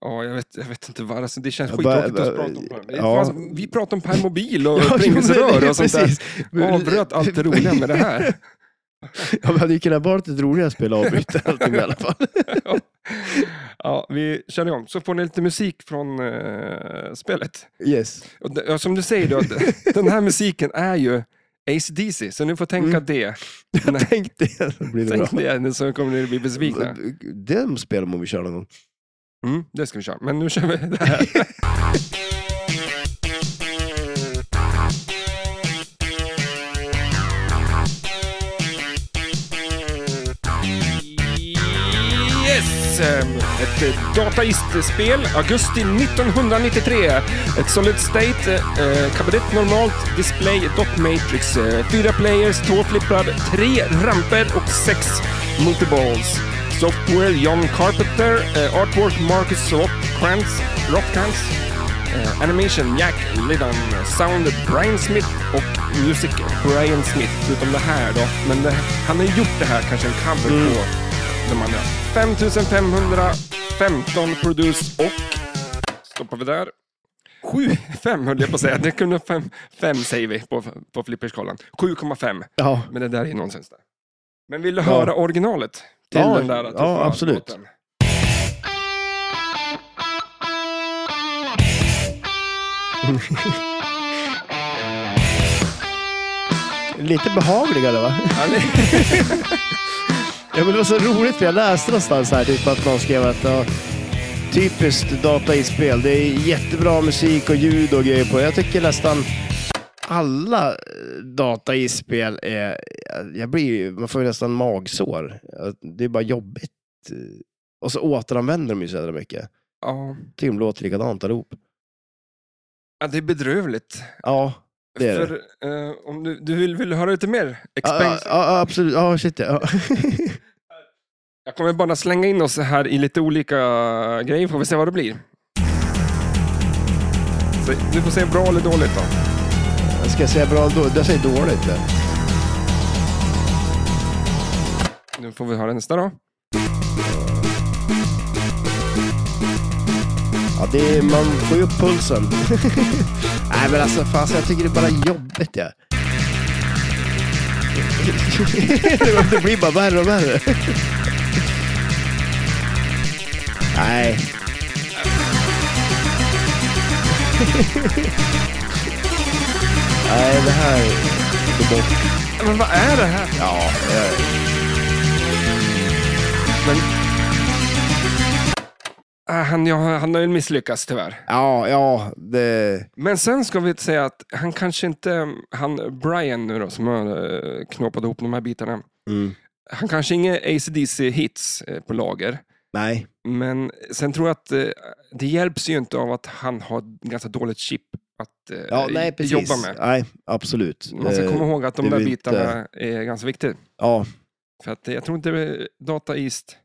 Ja, jag vet, jag vet inte vad. Alltså, det känns
Ja, bara-
skittråkigt att
bara-
prata om. det här. Det är
ja.
fan- Vi pratar om permobil och
<laughs> Ja, jo, men det
pringelsrör
är
och sånt där.
precis. Men-
Avbröt allt det roliga med det här.
<laughs> Ja, vi hade ju kunnat vara ett roligare spel
<laughs>
och avbryta allting i alla fall.
Ja, vi kör igång. Så får ni lite musik från eh, spelet.
Yes.
Och det, ja, som du säger, då,
<laughs>
den här musiken är ju AC/DC, så ni får tänka
Mm. <laughs>
det.
Tänk det, så blir det
Tänk
bra. eh,
det, så kommer ni bli
<laughs>
besvikna.
Den spelar man vi kör någon gång.
Mm, det ska vi köra, men nu kör vi det här. Yes! Ett eh, dataistspel, augusti 1993. Ett Solid State, eh, kabinett normalt, display, dot matrix, eh, fyra players, två flipprar, tre ramper och sex multiballs. Software John Carpenter, eh, artwork Marcus Rockkrantz, Rockkrantz eh, animation Jack Lydon, sound Brian Smith och music Brian Smith, utom det här då. Men det, han har ju gjort det här, kanske en cover
Mm.
på de andra. 5515 produce och, stoppar vi där, 7, 5 höll jag på att säga. Det kunde 5, 5 säger vi på, på flipperskalan. 7,5.
Ja,
Men det där är nonsens där. Men vill du höra originalet? Till
Ja,
den där
ja,
tuffa
absolut.
låten?
lite behagligare va?
Ja, det-
<laughs> Ja, men det var så roligt för jag läste någonstans här typ att någon skrev att ja, Typiskt datainspel. Det är jättebra musik och ljud och grejer på. Jag tycker nästan alla eh, datainspel är... Jag blir, ju- man får ju nästan magsår. Det är bara jobbigt. Eh, Och så återanvänder de ju så jävla mycket.
Ja.
Tycker de låter likadant allihop.
ja, det är bedrövligt.
Ja, det är det.
För, eh, om du, du vill, vill höra lite mer?
Ja, ja,
Expansion.
ja, absolut. Ja, shit ja. <laughs>
Jag kommer bara slänga in oss här i lite olika eh, grejer, får vi se vad det blir. Så, du får se bra eller dåligt då.
Ska jag säga bra då? Jag säger dåligt. ja.
Nu får vi höra nästa då.
Ja, det är, man får ju
<laughs>
upp pulsen. Nej men alltså fan, så jag tycker det är bara jobbigt ja. <laughs> det blir bara värre och värre. Nej. Nej, det här går bort.
Men vad är det här?
Ja, det är...
Men... Ah, Han, ja, han har ju misslyckats tyvärr.
ja, ja, det...
Men sen ska vi säga att han kanske inte, eh, han Brian nu då som har eh, knåpat ihop de här bitarna.
Mm.
Han kanske inga AC/DC hits eh, på lager.
Nej.
Men sen tror jag att eh, det hjälps ju inte av att han har ett ganska dåligt chip att eh,
Ja, nej, precis.
jobba med.
Nej, absolut.
Man ska
Eh,
komma ihåg att de
det
där
vill inte-
bitarna är ganska viktiga.
Ja,
För att eh, jag tror inte eh, Data East...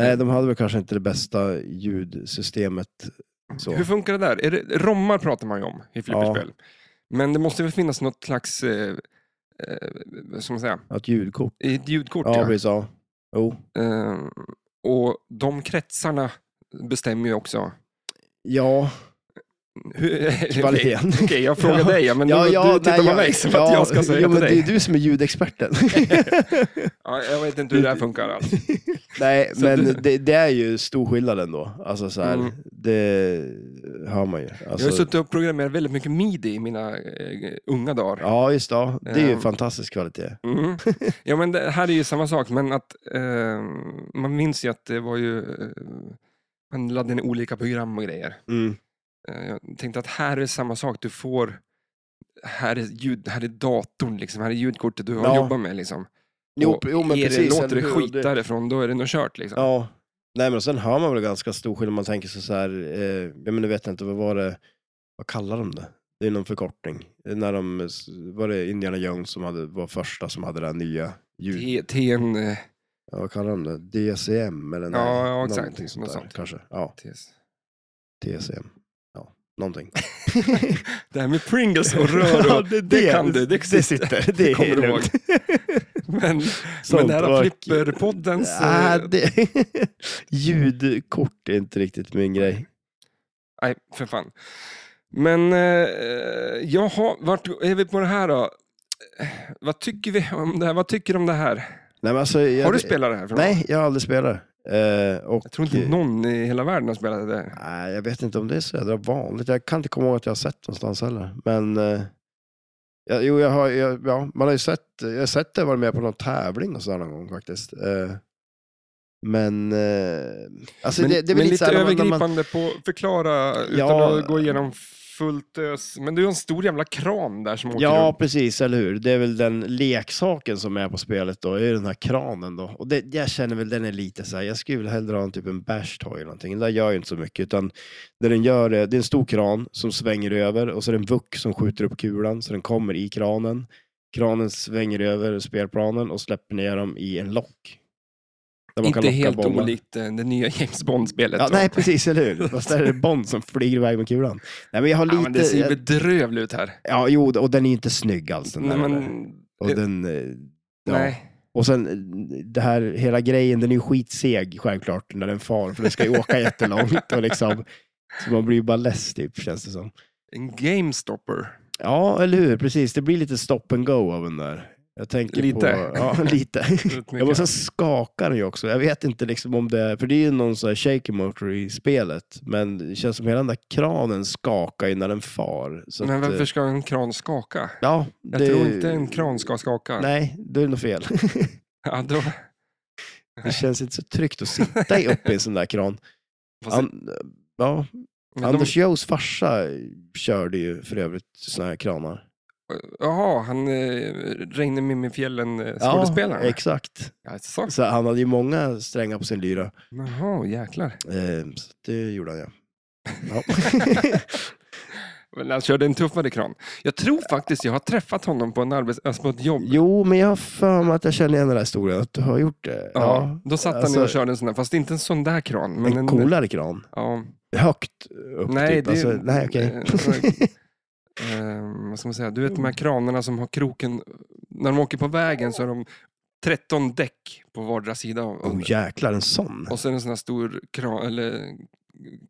Mm.
Nej, de hade väl kanske inte det bästa ljudsystemet. Så.
Hur funkar det där? Är det, rommar pratar man ju om i flipperspel. Men det måste väl finnas något slags, eh, eh, vad ska man säga,
Att ljudkort.
ett ljudkort.
Ja,
Ja,
precis. Ja. Jo.
Eh, och de kretsarna bestämmer ju också <laughs>
ja,
hur- <laughs> Okej,
kvaliteten. <laughs>
Okej, jag frågar
Ja.
dig, ja, men
ja,
du,
ja,
du tittar
nej,
på mig som att jag ska säga
ja,
till
men Det
dig.
är du som
<laughs>
är ljudexperten. <laughs>
Ja, jag vet inte hur det här funkar alls.
nej,
Så
men
du-
det, det är ju stor skillnad ändå. Alltså så här,
Mm.
det hör man ju.
Jag har
Alltså,
ju suttit och programmerat väldigt mycket midi i mina eh, unga dagar.
ja, just det. Ja. Det är ju
Ehm.
fantastisk kvalitet.
Mm. Ja, men det här är ju samma sak, men att eh, man minns ju att det var ju... Eh, man laddade ner olika program och grejer.
Mm.
Eh, jag tänkte att här är samma sak, du får... Här är, ljud, här är datorn, liksom, här är ljudkortet du har
Ja.
jobbat med. Liksom.
Jo,
Och
jo, men
är
precis.
det, låter
eller
det
hur?
skit därifrån, då är det nog kört. Liksom.
Ja. Nej men sen hör man väl ganska stor skillnad. Man tänker så så här, eh, ja men nu vet jag inte, vad var det, vad kallar de det? Det är någon förkortning. Eh, När de, s- var det Indiana Jones som hade, var första som hade det här nya ljud?
Till, till en... eh,
Ja, vad kallar de det? DCM eller
Ja, ja,
någonting
exakt.
sånt
Något
där,
sånt.
kanske. Ja,
till-
TCM. Ja,
<laughs>
någonting.
Det här med Pringles och rör,
Ja,
och, det kan du, det
det
sitter.
sitter. Det är
kommer du
lugnt.
men, men
Sånt
det här
var-
har flipperpoddens...
Ah,
eh,
det... <laughs> Ljudkort är inte riktigt min grej.
Nej, för fan. Men eh, jaha, vart är vi på det här då? Eh, Vad tycker vi om det här? Vad tycker du om det här?
Nej, men alltså, jag...
Har du spelat det här? För någon?
Nej, jag har aldrig spelat. Eh, och,
Jag tror inte någon i hela världen har spelat det där.
Nej, jag vet inte om det är så jädra vanligt. Jag kan inte komma ihåg att jag har sett någonstans heller. Men eh, ja, jo, jag har, jag, ja, man har ju sett, jag har sett det, varit med på någon tävling och sådär någon gång faktiskt. Eh, men, eh, alltså
Men,
det, det
men
är väl lite,
lite
så här, när man- när
övergripande
man,
på förklara utan
Ja.
att gå igenom fullt ös. Men det är ju en stor jävla kran där som åker
Ja,
runt.
precis, eller hur. Det är väl den leksaken som är på spelet då, är ju den här kranen då. Och det, jag känner väl den är lite så här, jag skulle väl hellre ha en typ en bash toy eller någonting. Den där gör ju inte så mycket, utan det den gör är, det är en stor kran som svänger över och så är det en vuck som skjuter upp kulan så den kommer i kranen. Kranen svänger över spelplanen och släpper ner dem i en lock. Där man kan
Inte
locka
helt
bollar.
olikt eh, det nya James Bond-spelet.
Ja,
då.
nej, precis, eller hur? Fast där är det Bond som flyger iväg med kulan. Nej, men jag har
ja, men
lite...
det ser ju
Ja,
bedrövligt ut här.
jo, och den är ju inte snygg alls den
Nej,
där.
men,
Och
Eh,
den, eh, ja.
nej.
Och sen eh, det här, hela grejen, den är ju skitseg självklart när den far, för den ska
<laughs>
ju åka jättelångt och liksom, så man blir ju bara less typ, känns det som.
En GameStopper.
Ja, eller hur, precis, det blir lite stop and go av den där. Jag tänker
Lite.
På,
<laughs>
ja, lite. Ja, men sen skakar den ju också. Jag vet inte liksom om det är, för det är ju någon sån här shaky motor i spelet, men det känns som hela den där kranen skakar ju när den far. Så
Men
att, eh,
varför ska en kran skaka?
Ja,
Jag
det-
tror inte en kran ska skaka.
Nej, då är det nog fel. <laughs>
Ja, då,
Det känns inte så tryggt att sitta i uppe i en sån där kran.
<laughs> Fast
An, ja,
de-
Anders Joes farsa körde ju för övrigt såna här kranar.
Jaha, han eh, Reine Mimifjällen eh, skådespelaren?
Ja, exakt.
Jaså?
Så han hade ju många strängar på sin lyra.
Jaha, jäklar.
Eh, så det gjorde han ja. ja. <laughs>
Men han körde en tuffare kran. Jag tror faktiskt jag har träffat honom på, en arbets- alltså på ett jobb.
jo, men jag har för mig att jag känner igen den här historien, att du har gjort eh, det.
Ja, då satt han
alltså-
ner och körde en sån där, fast inte en sån där kran. Men
En
en,
coolare kran.
Ja,
Högt upp
Nej,
typ.
det-
Alltså, nej, okej.
<laughs>
<laughs>
eh, vad ska man säga? Du vet
Mm.
de här kranarna som har kroken, när de åker på vägen så har de 13 däck på vardera sida. av- av-
oh, jäklar, en sån.
och så är det en sån här stor kran, eller,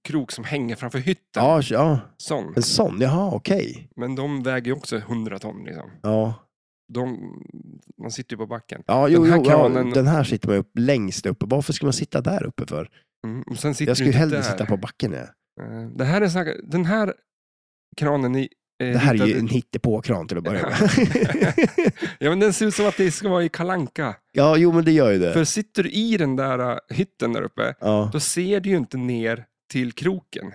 krok som hänger framför hytten.
Ja, ja,
Sån.
en sån. Jaha, okej.
Men de väger ju också 100 ton. Liksom.
Ja.
De, man sitter ju på backen.
Ja, jo,
Den här
jo,
kranen-
ja, den här sitter man upp längst uppe. Varför ska man sitta där uppe för?
Mm. Och sen sitter
Jag skulle
du
ju
inte
hellre
där.
sitta på backen. Ja.
Eh, Det här är så här, den här kranen i... eh,
Det här är ju
ritade-
en hittepåkran till att börja med.
<laughs>
<laughs>
Ja, men den ser ut som att det ska vara i Kalanka.
ja, jo, men det gör ju det.
För sitter du i den där eh, hytten där uppe,
Ja,
då ser du ju inte ner till kroken.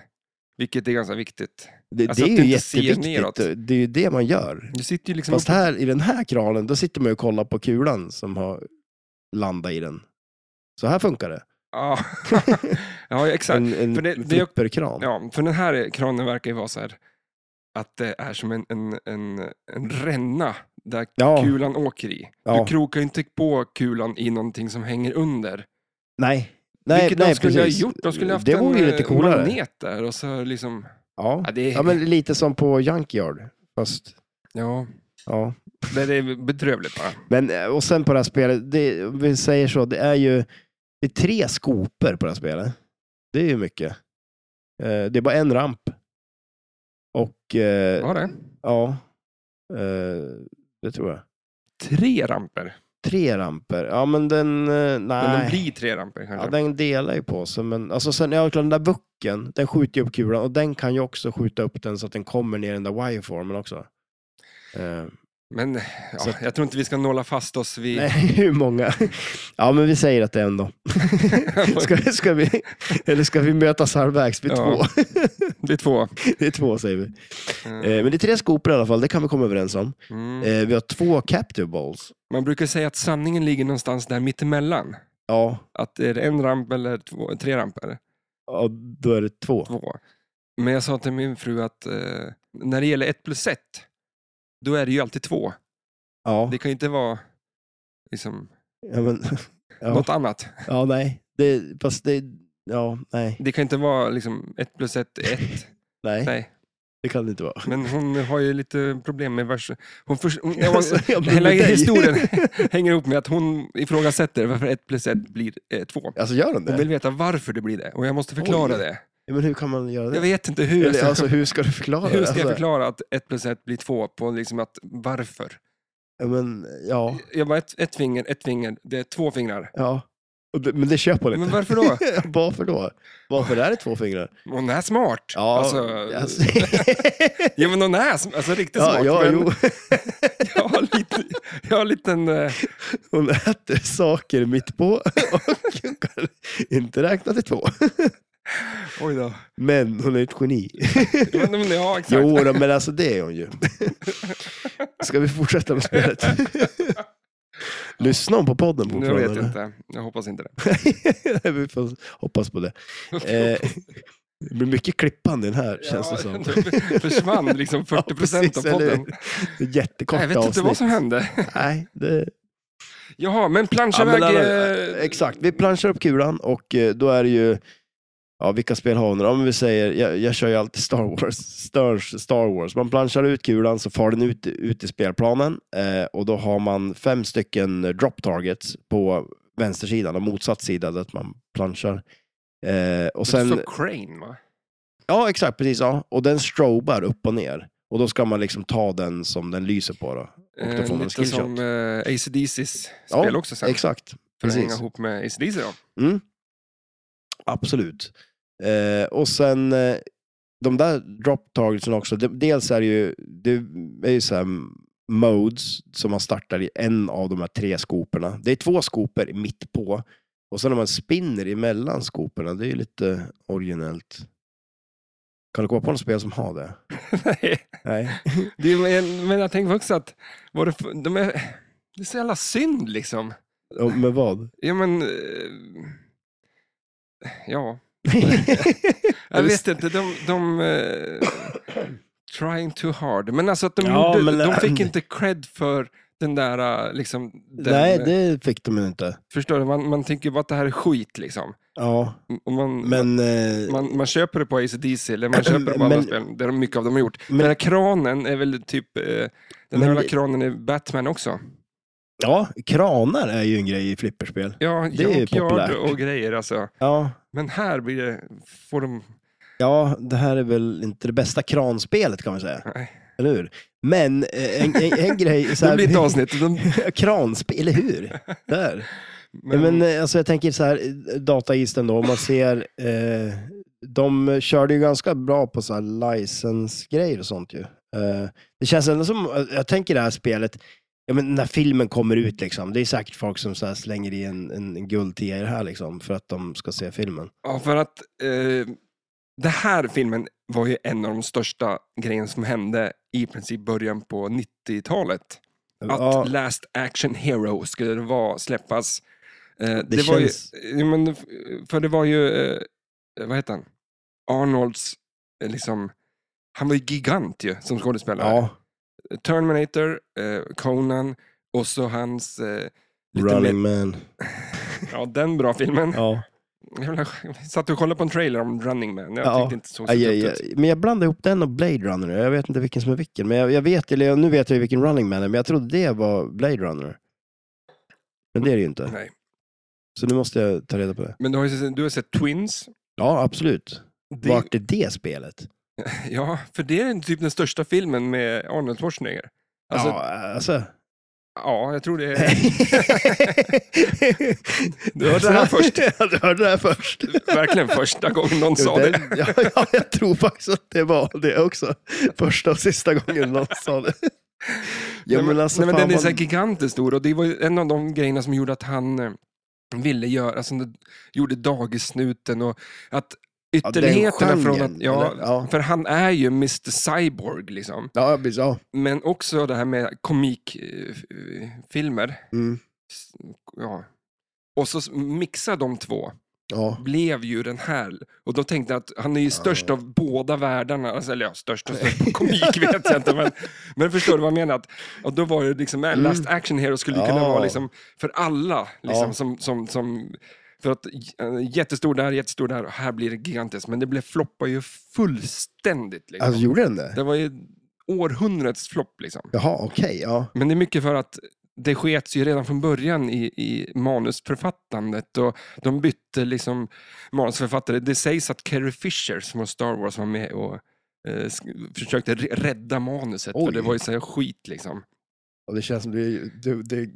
Vilket är ganska viktigt.
det,
alltså
det
att
är ju
du inte ser neråt.
jätteviktigt. Det är ju det man gör.
Du sitter ju liksom...
Fast
uppe-
här i den här kranen, då sitter man ju och kollar på kulan som har landat i den. Så här funkar det.
Ja, ja <laughs>
<laughs>
exakt.
En, en
För det- det-
flipperkran.
Ja, för den här kranen verkar ju vara så här att det är som en, en, en, en ränna där
Ja.
kulan åker i.
Ja.
Du krokar ju inte på kulan i någonting som hänger under.
Nej, nej,
Vilket
nej
de skulle
precis.
ha gjort. De skulle haft
det vore
en
ju lite
eh,
coolare.
magnet där och så liksom...
Ja.
Ja, det är,
ja, men lite som på Junkyard. Fast,
ja,
ja.
men det är bedrövligt bara.
Men, eh, och sen på det här spelet, det, om vi säger så, det är ju det är tre skopor på det här spelet. Det är ju mycket. Eh, det är bara en ramp. Och eh,
Var det?
ja, eh, det tror jag.
Tre ramper.
Tre ramper. Ja, men den, eh,
Men de
nej.
blir tre ramper kanske.
Ja, den delar ju på sig, men alltså sen, ja, klart, den där bucken, den skjuter ju upp kulan och den kan ju också skjuta upp den så att den kommer ner i den där wireformen också. Eh,
Men
Så
ja,
att-
jag tror inte vi ska nåla fast oss vid... <laughs>
Nej, <laughs> hur många? Ja, men vi säger att det är en då. Ska, ska vi, eller ska vi mötas halvvägs vid
Ja.
två? <laughs>
det är två.
Det är två säger vi.
Eh,
<laughs> Eh, men det är tre skopor i alla fall, det kan vi komma överens om.
Mm.
Eh, vi har två captive balls.
Man brukar säga att sanningen ligger någonstans där mittemellan.
Ja,
Att är det en ramp eller två, tre ramper?
ja, då är det två.
Två. Men jag sa till min fru att eh, när det gäller ett plus ett, då är det ju alltid två.
Ja,
Det kan ju inte vara liksom,
ja, men, <laughs> ja,
något annat.
ja nej. Det, fast det, ja, nej,
Det kan inte vara liksom, ett plus ett är ett.
nej,
Nej,
det kan det inte vara.
men hon har ju lite problem med vers... Hon förs- hon, jag var-
<laughs> Alltså, jag blir
Hela
med dig.
historien hänger ihop med att hon ifrågasätter varför ett plus ett blir eh, två.
<laughs> Alltså gör den
Hon
det?
vill veta varför det blir det och jag måste förklara
Oj.
det.
Ja, men hur kan man göra det?
Jag vet inte hur jag
eller,
ska,
alltså, hur ska du förklara
hur
det?
ska jag
Alltså,
förklara att ett plus ett blir två på liksom att varför.
ja, men, ja,
Jag bara ett, ett finger, ett finger, det är två fingrar.
ja. Och det- Men det köper hon inte.
Men varför då?
<laughs> Varför då? Varför är det två fingrar?
Hon är smart.
Ja,
alltså,
alltså-
<laughs> ja men hon är sm- alltså, riktigt
<laughs> ja,
smart.
ja
men
jo.
<laughs> Jag har lite, jag har en liten eh,
Hon äter saker mitt på och hon kan inte räkna till två.
oj då.
Men hon är ett geni.
Ja, men, ja exakt.
Jo, då, men alltså det är hon ju. Ska vi fortsätta med spelet? <laughs> Lyssnar hon på podden på
nu vet jag inte. Jag hoppas inte det.
<laughs> Vi får hoppas på det. Eh, det blir mycket klippande i den här, känns det som.
<laughs> det försvann
<laughs>
liksom 40 procent
precis,
av
eller
podden.
hur? Det är Jättekorta
Jag vet inte
avsnitt.
vad som hände.
Nej, det...
Jaha, men planscha
Ja, men
iväg...
alla-
eh,
Exakt, vi planschar upp kulan och eh, då är det ju, ja vilka spel har hon? Ja, men vi säger, jag, jag kör ju alltid Star Wars, Stars Star Wars. Man planschar ut kulan så far den ut, ut i spelplanen eh, och då har man fem stycken drop targets på vänstersidan och motsatt sida där att man planschar. Eh, och
Det
sen,
står Crane va?
ja exakt, precis. Ja. Och den strobar upp och ner. Och då ska man liksom ta den som den lyser på då. Och då
Eh,
får man
Lite
skillshot.
som eh, ACDCs
Ja,
spel också sen.
Exakt,
för att hänga
precis.
ihop med ACDC då. <laughs>
Absolut. Eh, och sen eh, de där drop targetsen också. De, dels är det ju, det är ju så här modes som man startar i en av de här tre skoporna. Det är två skopor mitt på Och sen när man spinner emellan skoporna, det är ju lite originellt. Kan du komma på något spel som har det?
Nej.
Nej.
Det är, men- men jag tänker också att vad det, för- de är, det är så jävla synd liksom.
Och Med vad?
Ja, men... eh, Ja.
Är
Jag
det
vet inte, de... de eh, trying too hard. Men alltså att de,
Ja,
gjorde,
men-
de fick inte cred för den där eh, liksom... <laughs> Den,
Nej, det fick de ju inte.
Förstår du? Man, man tänker ju bara att det här är skit liksom.
Ja,
Och man,
men... eh,
man, man köper det på AC/DC eller man köper det på alla
Men-
spel. Det är mycket av dem har gjort.
Men-
den här kranen är väl typ... eh, Den
Men
här jävla
det-
kranen är Batman också.
Ja, kranar är ju en grej i flipperspel.
Ja,
Det är ju
junkyard
populärt.
och grejer alltså.
Ja,
Men här blir det, får de...
ja, det här är väl inte det bästa kranspelet kan man säga.
Nej.
Eller hur? Men eh, en, en, en grej... Så
Det
här,
blir ett
<laughs>
avsnitt. De,
Kranspel, eller hur? Där.
men,
Men eh, alltså jag tänker så här, eh, dataisten då, om man ser, eh, de körde ju ganska bra på så här license-grejer och sånt ju. Eh, det känns ändå som, eh, jag tänker det här spelet, ja men när filmen kommer ut liksom, det är säkert folk som så här slänger i en, en, en guldtia i det här liksom, för att de ska se filmen.
ja, för att eh, den här filmen var ju en av de största grejerna som hände i princip början på 90-talet. Att
Ja,
Last Action Hero skulle det vara, släppas. Eh, det, var
känns-
ju, ja, men, f- för det var ju, eh, vad heter han? Arnolds, eh, liksom, han var ju gigant ju som skådespelare.
ja,
Terminator, eh, Conan och så hans... Eh, lite mer,
Running Man.
ja, den bra
<laughs>
filmen.
Ja.
Jag <laughs> satt och kollade på en trailer om Running Man. Jag
Ja.
tyckte inte det såg så
Aj,
dumt
aj,
ut.
aj. Men jag blandade ihop den och Blade Runner. Jag vet inte vilken som är vilken. Men jag, jag vet, eller jag, nu vet jag ju vilken Running Man är, men jag trodde det var Blade Runner. Men det är det ju inte.
Nej.
Så nu måste jag ta reda på det.
Men du har, ju, du har sett Twins.
Ja, absolut.
Det,
Vart är det spelet?
<laughs> Ja, för det är typ den största filmen med Arnold Schwarzenegger. Alltså,
ja,
ja.
alltså.
jag tror det är... <laughs>
<laughs>
Du hörde det här först.
<laughs> Ja, du hörde det här först.
Verkligen första gången någon sa det.
Den- <laughs> Ja, ja, jag tror faktiskt att det var det också. Första och sista gången någon sa det. Ja,
nej, men,
men alltså,
nej, men
fan,
den är så här
man-
gigantiskt stor och det var ju en av de grejerna som gjorde att han eh, ville göra, alltså, han gjorde dagissnuten och att
Ja, den
ytterligheterna från att,
genren,
ja,
eller? Ja.
för han är ju Mr Cyborg liksom.
Ja, precis. Ja.
Men också det här med komikfilmer.
Mm.
Ja. Och så s- mixa de två
ja.
blev ju den här. Och då tänkte jag att han är ju störst av båda världarna. Alltså, eller ja, störst och störst.
<laughs>
på Komik vet jag inte. Men, men förstår du vad jag menar? Att, och då var det liksom, äh, Last Action Hero skulle ju kunna
Mm. Ja.
vara liksom för alla. Liksom,
Ja.
som, som, som, för att äh, jättestor där, jättestor där och här blir det gigantiskt. Men det blev floppar ju fullständigt. Liksom.
Alltså gjorde den det?
Det var ju århundradets flopp liksom.
Jaha, okej. ja.
Men det är mycket för att det skets ju redan från början i, i manusförfattandet och de bytte liksom manusförfattare. Det sägs att Carrie Fisher som var Star Wars var med och eh, sk- försökte re- rädda manuset för
Oj.
det var ju så här skit liksom.
Och det känns som det, det, det,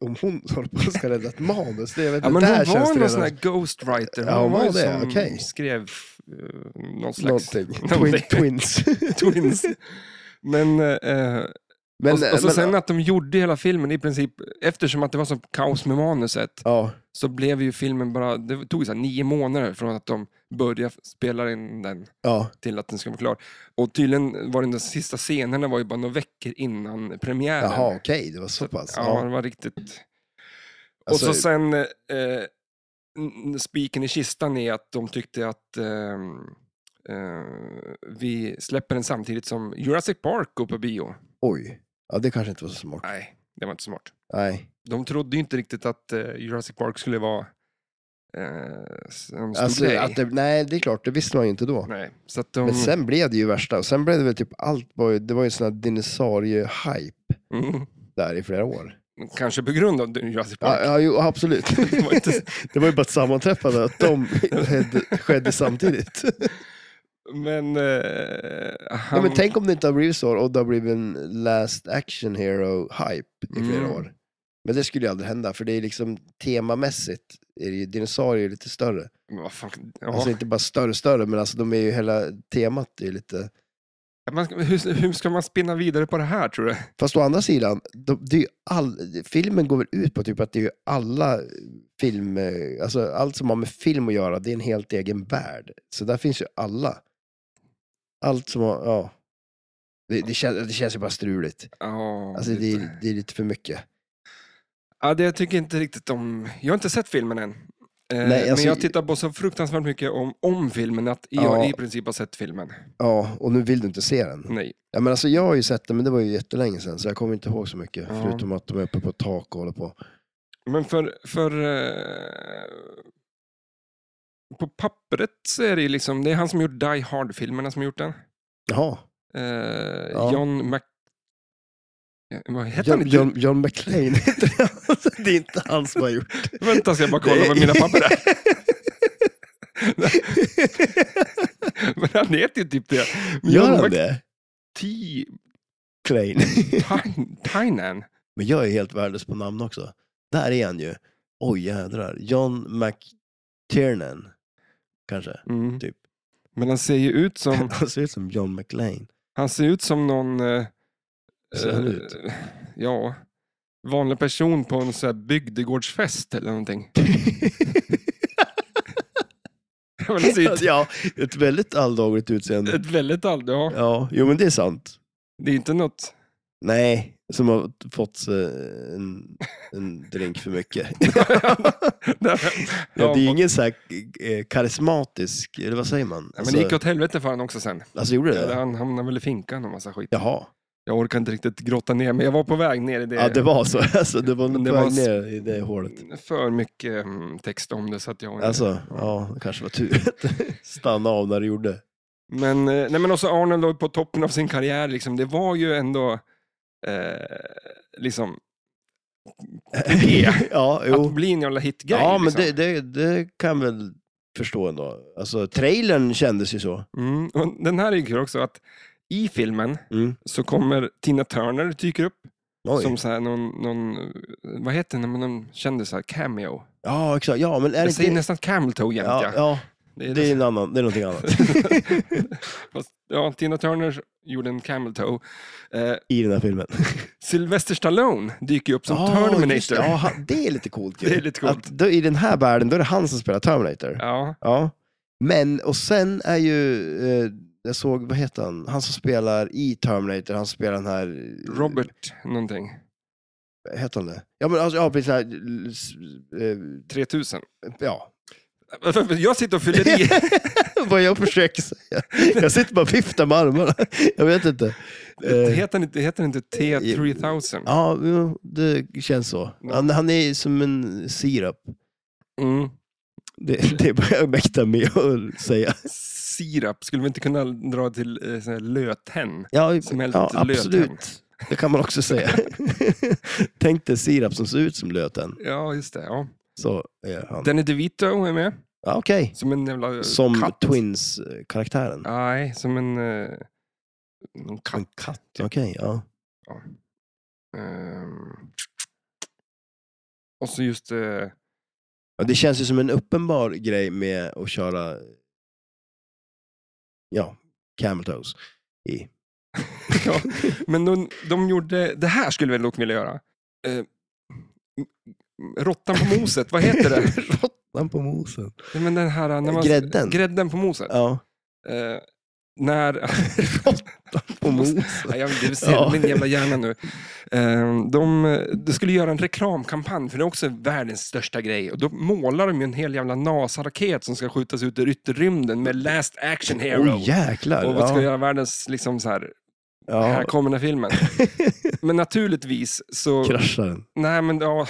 om hon <laughs> håller på att ska rädda ett manus. Det, jag vet,
Ja, men
det
hon
där känns
var
det
någon
redan
sån här ghostwriter. Hon
Ja, hon
var ju
var det,
som
okej.
skrev uh, någon slags...
någonting.
<laughs> Någonting.
Twin, twins.
<laughs> Twins. Men, eh,
Men,
och,
eh,
och så
men,
sen att de gjorde hela filmen i princip, eftersom att det var så kaos med manuset,
ja,
så blev ju filmen bara, det tog så här nio månader från att de började spela in den
ja,
till att den skulle vara klar. Och tydligen var den de sista scenerna var ju bara några veckor innan premiären.
jaha, okej, det var så pass.
Ja,
Ja,
det var riktigt.
Alltså-
och så sen, eh, n- spiken i kistan är att de tyckte att ehm, eh, vi släpper den samtidigt som Jurassic Park går på bio.
oj. Ja, det kanske inte var så smart.
Nej, det var inte smart.
Nej.
De trodde ju inte riktigt att eh, Jurassic Park skulle vara eh, en stor
Alltså,
grej.
att det, nej, det är klart, det visste man ju inte då.
Nej, Mm. så att de...
Men sen blev det ju värsta. Och sen blev det väl typ allt, var ju, det var ju sån här dinosaurie-hype
mm,
där i flera år.
kanske på grund av Jurassic Park.
Ja, ja jo, absolut.
<laughs> Det var inte-
<laughs> det var ju bara ett sammanträffande
<laughs>
att de skedde, skedde samtidigt.
Men... Eh, han...
Ja, men tänk om det inte har blivit så och det har blivit en last action hero-hype i flera
Mm.
år. Men det skulle ju aldrig hända, för det är liksom temamässigt är det ju dinosaurier lite större.
Vad fan, ja.
Alltså inte bara större större, men alltså de är ju hela temat är ju lite
Att man ska, hur, hur ska man spinna vidare på det här tror du?
Fast å andra sidan, de, det är ju all, filmen går väl ut på typ att det är ju alla film, eh, alltså allt som har med film att göra, det är en helt egen värld. Så där finns ju alla. Allt som har, ja. Det, det, känns, det känns ju bara struligt.
Ja,
Alltså det är, det är lite för mycket.
Ja, det jag tycker inte riktigt om... Jag har inte sett filmen än. Eh,
Nej, alltså-
Men jag tittar på så fruktansvärt mycket om, om filmen att jag
Ja.
i princip har sett filmen.
Ja, och nu vill du inte se den.
Nej.
Ja, men alltså jag har ju sett den, men det var ju jättelänge sedan, så jag kommer inte ihåg så mycket.
Ja.
Förutom att de är uppe på ett tak och håller på.
Men för... för eh, på pappret så är det ju liksom... Det är han som gjort Die Hard-filmerna som har gjort den.
Jaha,
Eh,
Ja.
John Mac... Ja, Vad heter han?
John,
inte?
John, John <laughs> McClane heter han. Det är inte han som har gjort
typ? Vänta ska jag bara kolla vad mina papper
<laughs>
är. <laughs> Men han heter ju typ det.
Gör han det?
T-
Klein. <laughs>
Tynan. Tynan.
Men jag är helt värdelös på namn också. Där är han ju. Oj jädrar. John McTiernan. Kanske.
Mm.
<laughs> Typ.
Men han ser ju ut som,
<laughs> Han ser ut som John McLean.
han ser ut som någon... eh,
Ser han
eh,
ut?
Ja. Vanlig person på en sån här bygdegårdsfest eller någonting. <laughs> <laughs> Men det ser ju ut-
<laughs> ja, ett väldigt alldagligt utseende.
Ett väldigt all... Ja,
Ja, jo men det är sant.
det är inte något...
Nej, som har fått sig en, en drink
<laughs>
för mycket. Ja, det är ingen så här eh, karismatisk, eller vad säger man?
Ja, men det gick åt helvete för honom också sen.
alltså gjorde det
Eller
det?
Han hamnade väl i finkan och massa skit.
Jaha.
Jag orkar inte riktigt grotta ner mig. Jag var på väg ner i det.
Ja, det var så. <laughs> Alltså, det var
Men
nog
det
på
var
väg
s-
ner i det hålet.
För mycket mm, text om det så att jag...
Alltså, ja, det kanske var tur att <laughs> stanna av när
<laughs>
du gjorde.
Men, eh, nej men också Arnold var ju på toppen av sin karriär. Liksom. Det var ju ändå... Eh, liksom,
<laughs> ja,
att
jo.
bli en jävla hitgrej.
Ja, men
liksom.
det, det, det kan väl förstå ändå. Alltså, trailern kändes ju så.
Mm. Och den här är ju kul också att i filmen
Mm.
så kommer Tina Turner dyker upp
Oj.
som så här någon, någon, eh, vad heter det, men någon kändis här, cameo.
Ja, exakt. Ja, men är
Jag
det
säger
inte...
nästan camel-toe jämt.
Ja,
Ja,
ja,
Det är
det är, en annan, det är
<laughs>
någonting annat
Fast, ja, Tina Turner gjorde en camel-toe. Eh,
i den här filmen.
Sylvester Stallone dyker ju upp som
Ja, Ah, just det.
Terminator.
Ja, han- det är lite coolt ju.
Det är lite coolt.
Att då, I den här världen, då är det han som spelar Terminator.
Ja,
Ja. Men, och sen är ju, eh, jag såg, vad heter han, han som spelar i Terminator, han spelar den här...
Robert någonting.
Heter han det? Ja, men alltså, ja, precis den här, l- s- eh,
3000.
ja. <laughs>
Jag sitter och fyller i.
vad jag försöker säga. Jag sitter bara och viftar med armarna. Jag vet inte. Eh,
Heter den inte, heter den inte T3000?
ja, jo, det känns så. Han, han är som en sirap.
Mm.
Det, <laughs> det är bara jag mäktar med att säga.
Sirap, skulle vi inte kunna dra till eh, sån här löten?
Ja,
Smält
ja
löten.
absolut. Det kan man också säga. <laughs> Tänk dig sirap som ser ut som löten.
Ja, just det. Ja.
Så är han.
Danny DeVito är med,
Ja, Okej.
som en jävla eh,
Som
katt.
Twins-karaktären.
Nej, som en... eh, En katt.
En katt. Okej, ja.
Ehm. Och så just... eh,
ja. Det känns ju som en uppenbar grej med att köra ja, camel toes. I.
Ja, men de, de gjorde... Det här skulle vi dock vilja göra. Eh, Råttan på moset, vad heter
<laughs>
det?
Råttan på mosen.
Nej, men den här, när man,
Grädden.
Grädden på moset.
Ja.
Eh, när... <laughs>
Råttan på mosen.
Nej, jag, du ser
Ja.
min jävla hjärna nu. Eh, de, de skulle göra en reklamkampanj, för det är också världens största grej. Och då målar de ju en hel jävla NASA-raket som ska skjutas ut i ytterrymden med Last Action Hero.
Åh jäklar.
och vad ska
ja.
göra världens, liksom så här, här
ja.
kommer den här filmen.
<laughs>
Men naturligtvis så...
Kraschar den.
Nej, men ja,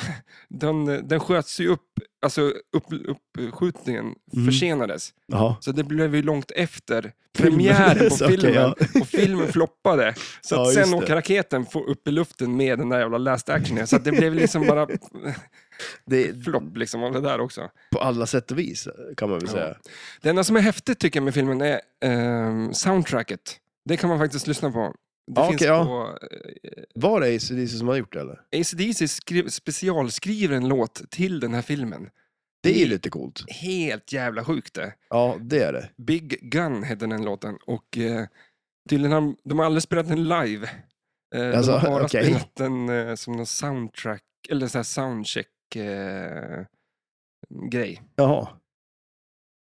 den, den sköts ju upp, alltså upp, uppskjutningen
Mm.
försenades.
Ja.
Så det blev ju långt efter
Filmen.
premiären på
Så, <laughs> okej,
filmen.
ja.
Och filmen floppade. Så
Ja,
att
just
sen
det.
åker raketen få- upp i luften med den där jävla last action. Så att det blev liksom
<laughs>
bara
Det är
flopp liksom av det där också.
på alla sätt och vis kan man väl
Ja.
säga.
Det enda som är häftigt tycker jag med filmen är ehm, soundtracket. Det kan man faktiskt lyssna på. Det
Ja,
finns
okej, ja.
på
Var det ACDC som har gjort det eller?
eh, ACDC skri- specialskriver en låt till den här filmen.
Det är ju lite coolt.
Helt jävla sjukt det.
Ja, det är det.
Big Gun hette den låten och eh, Tydligen har de- de har aldrig spelat den live. Eh,
Alltså,
de har bara
okej.
spelat den eh, som någon soundtrack, eller så här soundcheck eh, grej.
Jaha.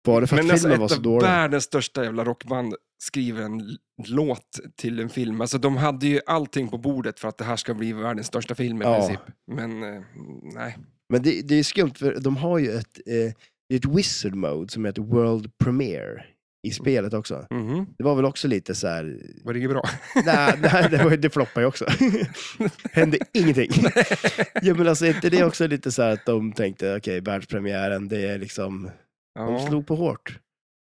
Var det för att
Men alltså
filmen var
ett
så
av
dålig?
världens största jävla rockband skriver en l- låt till en film. Alltså de hade ju allting på bordet för att det här ska bli världens största film i
Ja.
princip. Men eh, nej.
Men det, det är skumt, för de har ju ett, eh, det är ett wizard mode som heter World Premiere
Mm.
i spelet också.
Mhm.
Det var väl också lite så här...
Var det ju bra?
Nej, nej det, var, ju- det floppade <laughs> ju också. Hände ingenting. ja, men alltså, är inte det också lite så här att de tänkte, okej, världspremiären, det är liksom... De
Ja.
slog på hårt.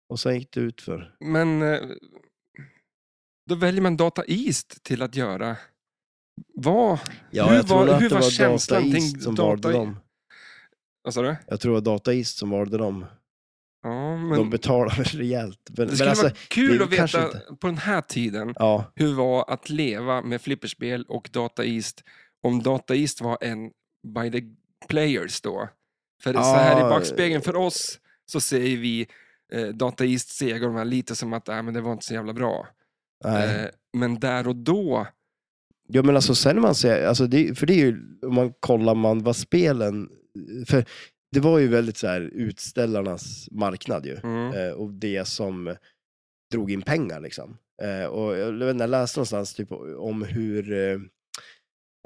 Och sen gick det ut för.
Men eh, då väljer man Data East till att göra vad?
Ja,
Hur
jag tror
var-
att
hur
det
var
var Data
känslan
East
kring
som
Data
valde
E-
dem.
Vad sa du?
Jag tror det var Data East som valde dem.
Ja,
De
men
betalade rejält. Men,
det
men
skulle
alltså,
vara kul
det
att
kanske
veta
inte-
på den här tiden
ja.
hur det var att leva med flipperspel och Data East om Data East var en by the players då. För så här
Ah.
i backspegeln för oss så säger vi eh, Data East seger de här lite som att äh, men det var inte så jävla bra.
Nej.
Eh, men där och då,
Ja men alltså sen när man ser, alltså det, för det är ju, om man kollar man vad spelen, för det var ju väldigt så här utställarnas marknad ju.
mm,
Eh, och det som drog in pengar liksom. Eh, och jag, vet inte, jag läste någonstans typ om hur, eh,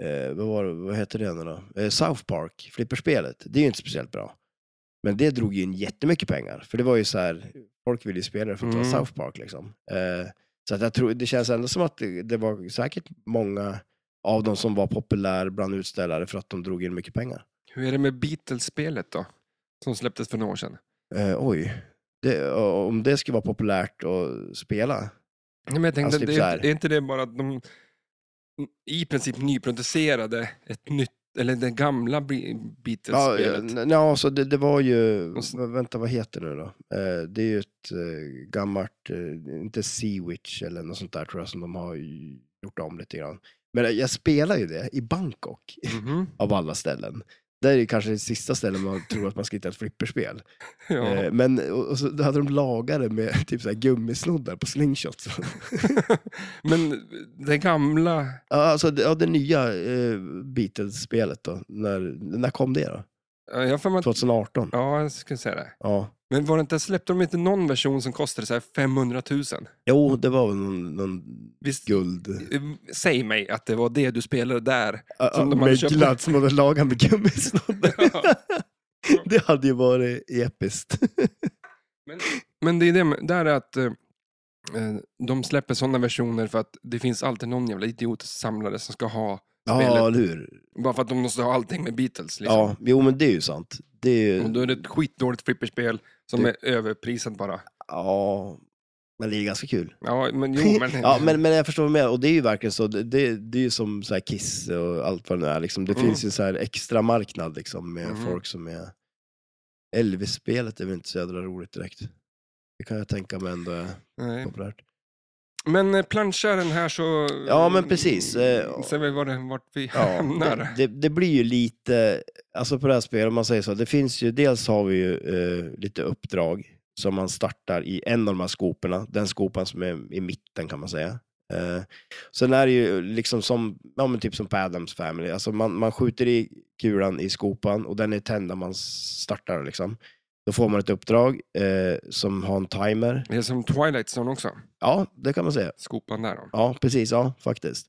eh, vad, var, det- vad heter det nu då? Eh, South Park, flipperspelet, det är ju inte speciellt bra. Men det drog ju in jättemycket pengar, för det var ju så här, folk ville ju spela det för att det
Mm.
var South Park liksom. Eh, så att jag tror, det känns ändå som att det, det var säkert många av de som var populär bland utställare för att de drog in mycket pengar.
hur är det med Beatles-spelet då? Som släpptes för några år sedan.
Eh, oj, det, om det skulle vara populärt att spela,
Nej, men jag tänkte,
Alltså, typ
det
så
är,
här.
inte- är inte det bara att de i princip nyproducerade ett nytt, eller det gamla Be- Beatles-spelet?
Ja, eh, n- ja så det, det var ju,
Och s-
vä- vänta vad heter det nu då? Eh, det är ju ett eh, gammalt, eh, inte Sea Witch eller något sånt där tror jag som de har ju gjort om lite grann. Men eh, jag spelar ju det i Bangkok <laughs>
Mhm,
av alla ställen. Det är ju kanske det sista stället man tror att man ska hitta ett flipperspel.
ja.
Eh, Men och, och så, då hade de lagat det med <laughs> typ så här gummisnoddar på slingshots.
<laughs>
<laughs>
Men det gamla,
Ja, alltså det, ja, det nya eh, Beatles-spelet då, när, när kom det då?
ja, jag har för mig att,
2018?
ja jag skulle säga det.
Ja.
Men var det inte, släppte de inte någon version som kostade så här 500 000?
Jo, det var väl någon, någon
Visst,
guld.
eh, säg mig att det var det du spelade
<laughs>
där.
Som
de hade köpt.
Möglat som hade lagat
<laughs>
med gummisnoddar. det hade ju varit episkt.
Men det är det med- där är att eh, eh, de släpper sådana versioner för att det finns alltid någon jävla idiot samlare som ska ha
Ja, eller hur?
Bara för att de måste ha allting med Beatles. Liksom.
Ja, jo men det är ju sant. Det är
Och
ju,
då är det ett skitdåligt flipperspel som är överprisat bara.
ja, men det är ganska kul.
Ja, men
<laughs>
jo, men...
ja, men, men jag förstår vad du menar. Och det är ju verkligen så. Det, det, det är ju som så här Kiss och allt vad det nu är. Liksom. Det
Mm.
finns ju så här extra marknad liksom, med
Mm.
folk som är... Elvis-spelet är väl inte så jävla roligt direkt. Det kan jag tänka mig ändå är
Nej.
populärt.
Men eh, planchar den här så...
Ja, men precis. Eh,
Ser vi var det, vart vi <laughs>
Ja,
hamnar.
det, det, det blir ju lite, alltså på det här spelet, om man säger så, det finns ju, dels har vi ju eh, lite uppdrag som man startar i en av de här skoporna, den skopan som är i mitten kan man säga. Eh, sen är det ju liksom som, ja men typ som på Adams Family, alltså man, man skjuter i kulan i skopan och den är tänd när man startar liksom. Då får man ett uppdrag eh, som har en timer.
Det är som Twilight Zone också.
Ja, det kan man säga.
Skopan där. Då.
Ja, precis. Ja, faktiskt.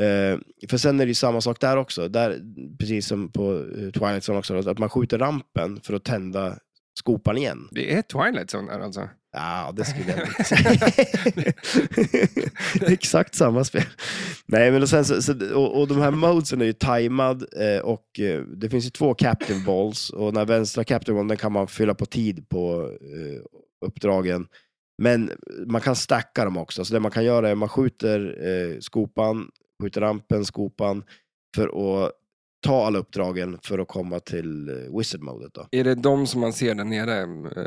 Eh, för sen är det ju samma sak där också. Där, precis som på eh, Twilight Zone också, att man skjuter rampen för att tända skopan igen.
Det är Twilight Zone där alltså.
Ja, det skulle jag inte säga. <laughs> Det är Exakt samma spel. Nej, men och, sen så, så, och, och de här modesen är ju tajmad eh, och eh, det finns ju två captain balls och den här vänstra captain ballen den kan man fylla på tid på eh, uppdragen. Men man kan stacka dem också. Så det man kan göra är att man skjuter eh, skopan, skjuter rampen, skopan för att ta alla uppdragen för att komma till eh, wizard modet då.
Är det de som man ser där nere?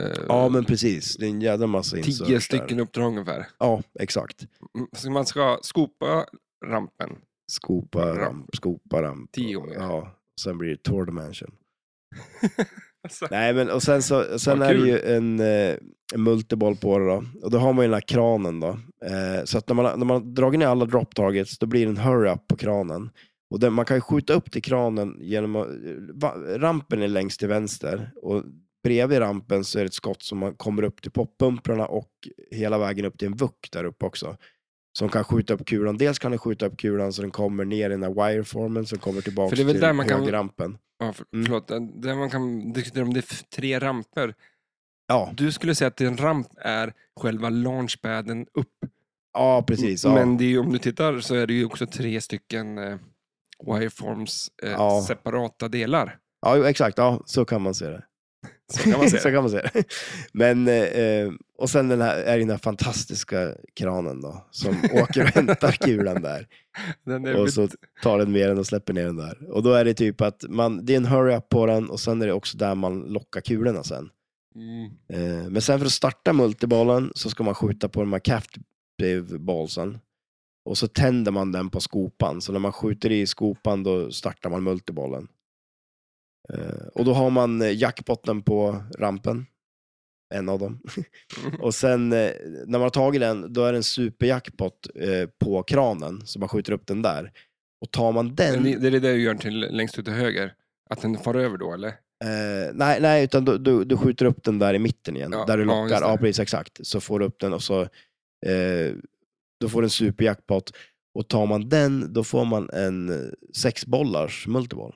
Eh,
Ja, men precis. Det är en jävla massa inserts där.
Tio stycken uppdrag ungefär.
Ja, exakt.
Mm, Så man ska skopa rampen.
Skopa ramp, skopa ramp.
Tio gånger.
Ja, sen blir det Tord Mansion.
Alltså,
Nej, men och sen, så, sen
Vad
är det
kul.
ju en, eh, en multiboll på det då. Och då har man ju den här kranen då. Eh, så att när man, har- när man har dragit ner alla drop targets, då blir det en hurry-up på kranen. Och den, man kan ju skjuta upp till kranen genom att, eh, va, rampen är längst till vänster. Och bredvid rampen så är det ett skott som man kommer upp till poppumprarna och hela vägen upp till en vuck där uppe också. Som kan skjuta upp kulan. Dels kan den skjuta upp kulan så den kommer ner i den här wireformen som kommer tillbaka
För det är väl
till
där man kan-
högerrampen.
ja, för,
Mm.
förlåt, det man kan diskutera om det är f- tre ramper.
Ja,
Du skulle säga att en ramp är själva launchpaden upp.
ja, precis. Ja.
Men det är ju, om du tittar så är det ju också tre stycken eh, wireforms eh,
Ja.
separata delar.
Ja, jo, exakt. Ja, så kan man se det.
Så
<laughs>
kan man säga.
så kan man se det. Men, eh, eh, och sen den här, är det den här fantastiska kranen då, som åker och hämtar kulan där.
Den är
och
väl-
så tar den med den och släpper ner den där. Och då är det typ att man, det är en hurry-up på den och sen är det också där man lockar kulorna sen.
Mm.
Eh, men sen för att starta multibollen så ska man skjuta på de här captive ballsen. Och så tänder man den på skopan, så när man skjuter i skopan då startar man multibollen. Eh, och då har man eh, jackpotten på rampen. En av dem. <laughs> och sen eh, när man har tagit den, då är det en superjackpot eh, på kranen, så man skjuter upp den där. Och tar man den...
Det är det du gör till längst ut till höger? Att den far över då eller?
Eh, nej, nej, utan du, du, du skjuter upp den där i mitten igen,
Ja,
där du
ja,
lockar.
just det.
Ja, precis, exakt. Så får du upp den och så eh, då får du en superjackpot. Och tar man den, då får man en eh, sexbollars multiboll.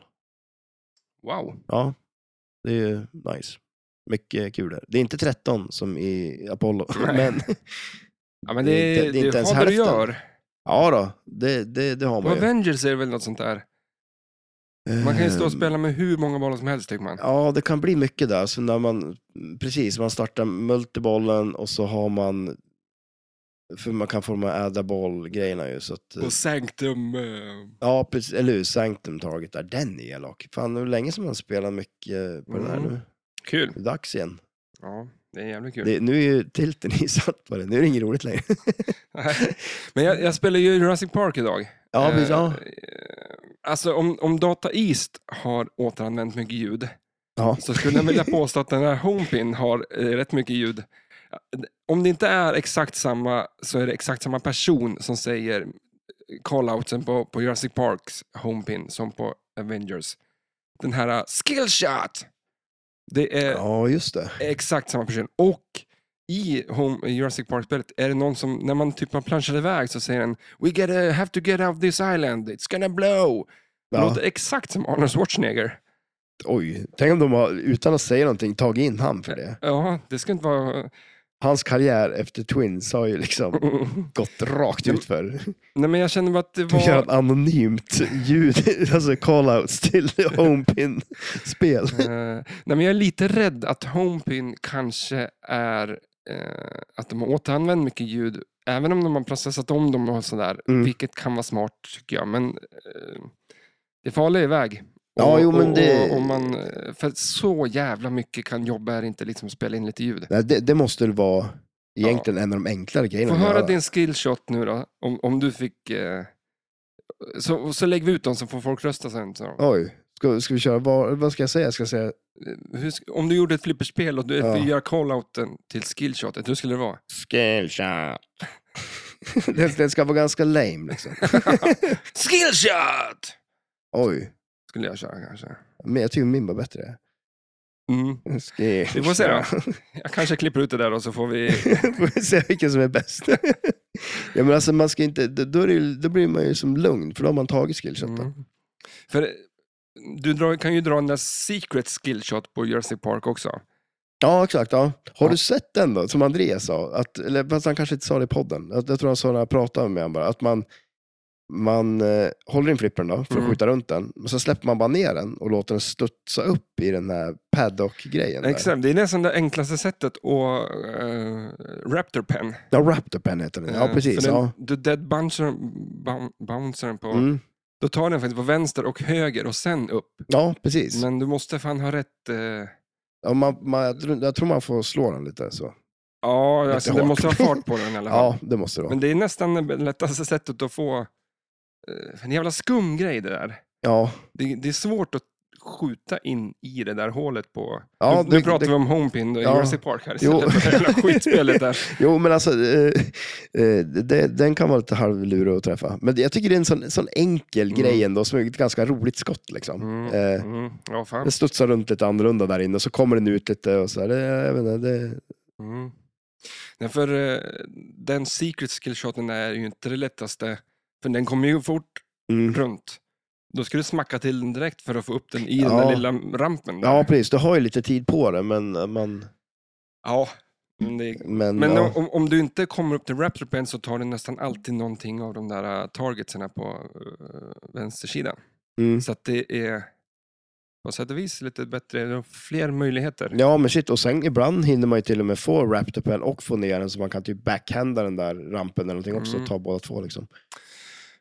Wow.
Ja, det är ju nice. Mycket kul där. Det är inte 13 som i Apollo, <laughs>
Nej.
men
Ja, men det,
Det är
det,
inte- det är inte ens
har du
hälften.
gör.
ja då, det, det, det har
Och
man ju.
Avengers är väl något sånt där. Man kan ju stå och
Ehm,
spela med hur många bollar som helst tycker man.
Ja, det kan bli mycket där. Så när man, precis, man startar multibollen och så har man, för man kan få de här adda boll-grejerna ju. Så att,
Och Sanctum. eh,
ja, precis, eller hur, Sanctum Target där, den är elak. Fan, hur länge som man spelar mycket på den här
Mm.
nu.
Kul.
Det är dags igen.
Ja, det är jävligt kul.
Det, nu är ju tilten <laughs> insatt på det, nu är det inget
<laughs>
roligt längre.
men jag, jag spelar ju Jurassic Park idag.
Ja,
Eh,
precis, ja.
Alltså om, om Data East har återanvänt mycket ljud
ja.
så skulle jag vilja påstå att den här Homepin har eh, rätt mycket ljud. Om det inte är exakt samma så är det exakt samma person som säger calloutsen på, på Jurassic Parks Homepin som på Avengers. Den här eh, skillshot! Det är
<laughs> ja, just det.
exakt samma person. Och i home, i Jurassic Park-spelet är det någon som, när man typ man planschar iväg så säger den We gotta, have to get out this island, it's gonna blow. Det
Ja.
låter exakt som Arnold Schwarzenegger.
Oj, tänk om de har, utan att säga någonting, tagit in han för det.
Ja, det ska inte vara... <laughs>
Hans karriär efter Twins har ju liksom gått rakt
Ja, men-
ut för.
Nej men jag känner bara att det
Du gör ett
var...
anonymt ljud, <laughs> alltså call-outs till Homepin-spel.
Eh, nej men jag är lite rädd att Homepin kanske är eh, att de har återanvänt mycket ljud. Även om de har processat om dem och sådär.
Mm.
Vilket kan vara smart tycker jag. Men eh, det farliga är väg.
Ja,
och,
jo, men
och,
det-
och, och man, eh, för att så jävla mycket kan jobba här inte liksom spela in lite ljud.
Nej, det, det måste väl vara egentligen en av de enklare grejerna.
Få
att
höra
göra.
din skillshot nu då. Om, om du fick... Eh, så, så lägger vi ut dem så får folk rösta sen. Så.
Oj, ska, ska vi köra, vad, vad ska jag säga? Ska jag säga
Hur, sk- om du gjorde ett flipperspel och du
Ja.
gör call-outen till skillshotet, hur skulle det vara? <laughs>
skillshot? den, den ska vara ganska lame liksom.
Skillshot!
Oj,
Skulle jag köra kanske.
men jag tycker min var bättre.
Mm.
Skillshot.
Vi får se då. Jag kanske klipper ut det där och så får <laughs> vi...
får <laughs> vi se vilken som
<laughs>
är bäst. ja, men alltså, man ska inte, då, då, är det, ju- då blir man ju som lugn, för då har man tagit skillshoten.
Mm. För eh, du drar, kan ju dra en där secret skillshot på Jersey Park också.
Ja, exakt. Ja.
Ja.
Har du sett den då, som Andreas sa? Att, eller, fast han kanske inte sa det i podden. Jag, jag tror han sa när jag pratade med honom bara, att man, man eh, håller in flippern då, för att
Mm.
skjuta runt den. Men så släpper man bara ner den och låter den studsa upp i den här paddock-grejen. där.
Exakt, det är nästan det enklaste sättet att äh, Raptor Pen.
Ja, raptor pen heter den. Ja,
Eh,
precis.
för den-
Ja.
Du dead bouncer, boun- bouncer den på...
Mm.
Då tar den faktiskt på vänster och höger och sen upp.
ja, precis.
Men du måste fan ha rätt... Eh,
Ja, man, man, jag, tror, jag tror man får slå den lite så.
Ja, alltså, det
hårt.
måste ha fart på den
<laughs>
i alla fall.
Ja, det måste det vara.
Men det är nästan det lättaste sättet att få... eh, En jävla skum grej det där.
Ja,
Det, det är svårt att skjuta in i det där hålet på...
Ja,
nu, nu
det-
pratar
det-
vi om Homepin och
Ja.
Jurassic Park här
Jo.
istället för det jävla
<laughs>
skitspelet där.
Jo, men alltså, eh, eh, det, den kan vara lite halvlurig att träffa. Men jag tycker det är en sån, sån enkel
Mm.
grej ändå, som är ett ganska roligt skott. Liksom.
Mm,
Eh,
mm, ja, fan.
den studsar runt lite annorlunda där inne, och så kommer den ut lite och så här, det, jag vet inte, det,
Mm. Nej, för eh, den secret skillshoten är ju inte det lättaste, för den kommer ju fort
mm.
runt. Då ska du smacka till den direkt för att få upp den i den
Ja.
där lilla rampen. Där.
Ja, precis. Du har ju lite tid på det, men... Man,
ja. Men, det,
men,
men
ja.
om, om du inte kommer upp till Raptor Pen så tar du nästan alltid någonting av de där eh, targetserna på eh, vänstersidan.
Mm.
Så att det är på sätt och vis lite bättre, du har fler möjligheter.
ja, men shit. Och sen ibland hinner man ju till och med få raptorpen och få ner den, så man kan typ backhanda den där rampen eller någonting också,
Mm.
och ta båda två liksom.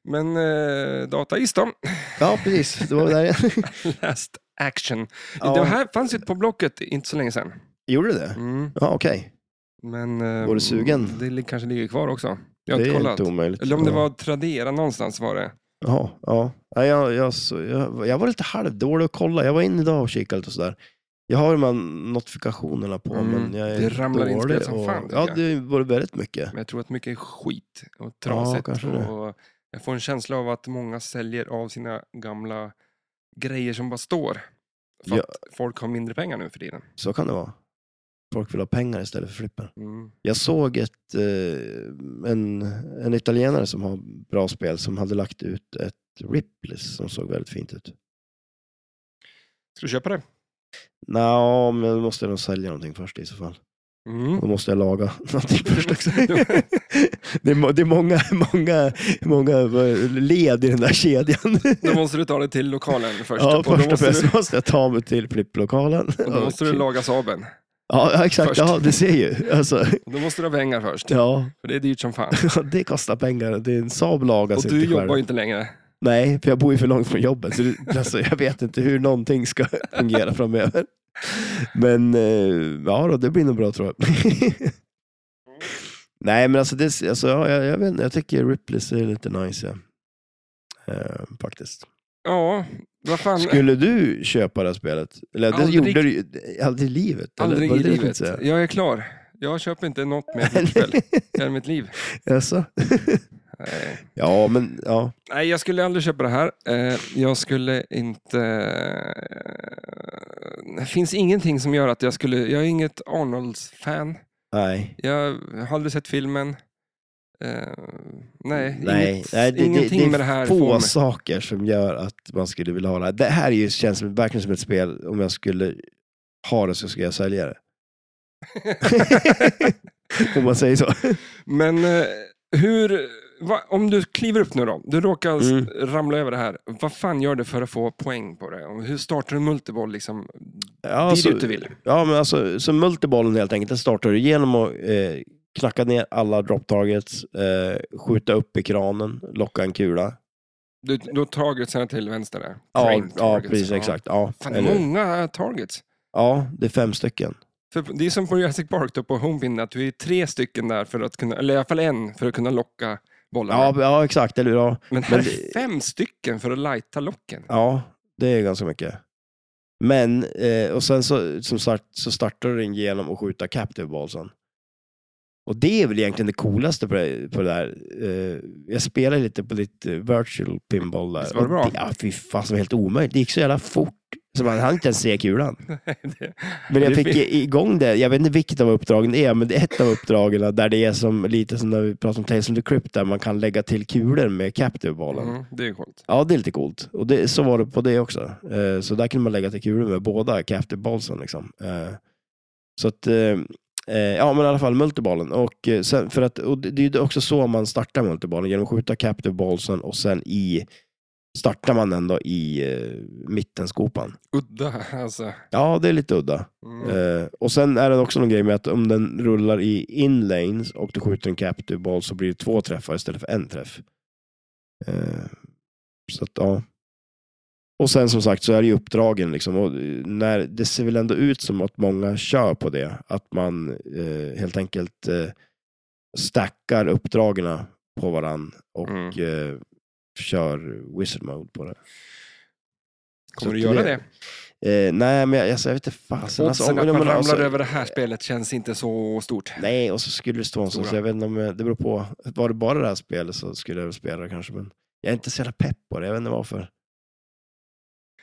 Men eh, dataist då,
Ja, precis. Det var
<laughs>
där.
last action. Det
ja.
här fanns ju på Blocket inte så länge sedan.
Gjorde du det?
Mm,
Ja, okej.
men eh,
Var du sugen?
det li- kanske ligger kvar också. Jag har
Det
inte
är
kollat.
inte omöjligt.
Eller om det
Ja.
var Tradera någonstans var det.
Jaha, ja. Nej, jag, jag, så, jag, jag var lite halvdålig att kolla. Jag var inne idag och kikade lite och sådär. Jag har de här notifikationerna på,
Mm,
men jag är
det ramlar in spel
dålig
som
och,
fan, tycker
Ja,
jag.
det var väldigt mycket.
Men jag tror att mycket är skit och trasigt.
kanske det.
och jag får en känsla av att många säljer av sina gamla grejer som bara står. För
Ja.
att folk har mindre pengar nu för tiden.
Så kan det vara. Folk vill ha pengar istället för flipper.
Mm.
Jag såg ett, eh, en, en italienare som har bra spel som hade lagt ut ett Ripless som såg väldigt fint ut.
Ska du köpa det?
Nå, men då måste jag nog sälja någonting först i så fall.
Mm.
Då måste jag laga <laughs> någonting först också. det, är, må- det är många, många, många eh, led i den där kedjan.
Då måste du ta det till lokalen
<laughs>
först.
ja,
och då
först och
måste,
främst
du,
måste jag ta mig till flipplokalen.
<laughs> och då måste du laga Saaben.
ja, ja, exakt.
först.
Ja, du ser ju. Alltså,
Och Då måste du ha pengar först.
ja,
För det är dyrt som
<laughs>
fan.
det kostar pengar. Det är en Saab lagas
Och
inte
du
själv.
jobbar ju inte längre.
Nej, för jag bor ju för långt från jobbet. Så det, alltså, jag vet inte hur någonting ska <laughs> fungera framöver. Men eh, ja, då, det blir nog bra tror jag. <laughs> Nej, men alltså, det, alltså ja, jag, jag, vet, inte, jag tycker Ripley's är lite nice. Ja. Eh, faktiskt.
Ja, vad fan.
Skulle du köpa det här spelet? Eller, det
Aldrig.
gjorde du ju aldrig i livet. eller?
Aldrig
Var
i
det det du
livet.
tänkte säga?
Jag är klar. Jag köper inte något
<laughs>
mer flipperspel i hela mitt liv.
Jaså?
Nej.
ja, men ja.
Nej, jag skulle aldrig köpa det här. Eh, Jag skulle inte... eh, Det finns ingenting som gör att jag skulle... Jag är inget Arnolds-fan.
Nej.
Jag har aldrig sett filmen. Eh, Nej, inget,
Mm, nej, det,
ingenting
det, det är
med det här får
få
mig.
<laughs> saker som gör att man skulle vilja ha det här. Det här är ju, känns som, verkligen som ett spel, om jag skulle ha det så skulle jag sälja det. <laughs> om man säger så.
Men eh, hur... Va, om du kliver upp nu då, du råkar s-
Mm.
ramla över det här. Vad fan gör du för att få poäng på det? Och Hur startar du multiboll? Liksom,
Ja,
dit
så,
ut du vill.
alltså- ja men alltså, så multibollen helt enkelt, den startar du genom att eh, knacka ner alla drop targets, eh, skjuta upp i kranen, locka en kula.
Du, du har targetsen till vänster där.
Ja,
Train
ja
targets.
precis, exakt. Ja,
Fan, det är
eller,
många targets.
ja, det är fem stycken.
För det är som på Jurassic Park då, på Homepin, att du är tre stycken där, för att kunna, eller i alla fall en, för att kunna locka bollarna.
Ja, ja exakt. Eller, hur? ja,
men här
men
är fem stycken för att lighta locken. <laughs>
Ja, det är ganska mycket. Men, eh, och sen så, som sagt, så startar du den genom att skjuta captive ballsen. Och det är väl egentligen det coolaste på det, på det där. Eh, jag spelade lite på ditt eh, virtual pinball där.
Visst var det bra?
Och Ja, fy fan, som helt omöjligt. Det gick så jävla fort. Så man hann inte ens se kulan.
Det-
Men jag
Det
fick
fin-
i- igång det. Jag vet inte vilket av uppdragen det är, men det är ett av uppdragen där det är som, lite som när vi pratade om Tales of the Crypt, där man kan lägga till kulor med captive ballen.
Mm, det är ju coolt.
Ja, det är lite coolt. Och det, så var det på det också. Eh, så där kunde man lägga till kulor med båda captive ballsen. Liksom. Eh, så att, eh, eh, ja men i alla fall multiballen. Och, eh, sen, för att, och det, det är ju också så man startar multiballen, genom att skjuta captive ballsen och sen i, startar man den då i eh, mittenskopan.
Udda, alltså.
Ja, det är lite udda.
Mm.
Eh, och sen är det också någon grej med att om den rullar i inlanes och du skjuter en captive ball så blir det två träffar istället för en träff. Eh, så att, ja. Och sen som sagt så är det ju uppdragen liksom. Och eh, när, det ser väl ändå ut som att många kör på det. Att man eh, helt enkelt eh, stackar uppdragen på
Mm.
varann och eh, kör wizard mode på det.
Kommer
Så
du
till
göra det?
Eh, nej, men jag, alltså, jag vet inte fasen. Alltså,
Oddsen att man ramlar
alltså,
över det här spelet känns inte så stort.
Nej, och så skulle det stå en sån,
Stora.
så jag vet inte om, jag- det beror på. Var det bara det här spelet så skulle jag väl spela det kanske, men jag är inte så jävla pepp på det, jag vet
<laughs>
inte varför.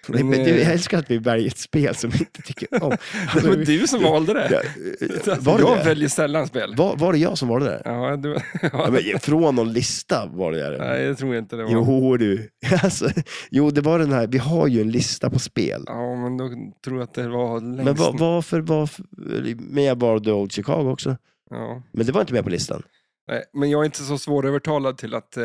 Det,
Men, <laughs>
det,
eh,
jag älskar att vi väljer ett spel som vi inte
<laughs>
tycker om. Alltså,
det var du som valde <laughs> det. Alltså,
Ja, eh, var, det
jag
det?
väljer sällan spel.
Var, var det jag som valde det?
Ja, du,
Ja, men, eh, från någon lista var det
<laughs>
det.
Nej, det tror jag inte det var.
Jo du. <laughs> Alltså, jo, det var den här, vi har ju en lista på spel.
Ja, men då tror jag att det var längst.
Men va, varför, varför, men jag valde Old Chicago också.
Ja.
Men det var inte med på listan.
Nej, men jag är inte så svårövertalad till att... Eh,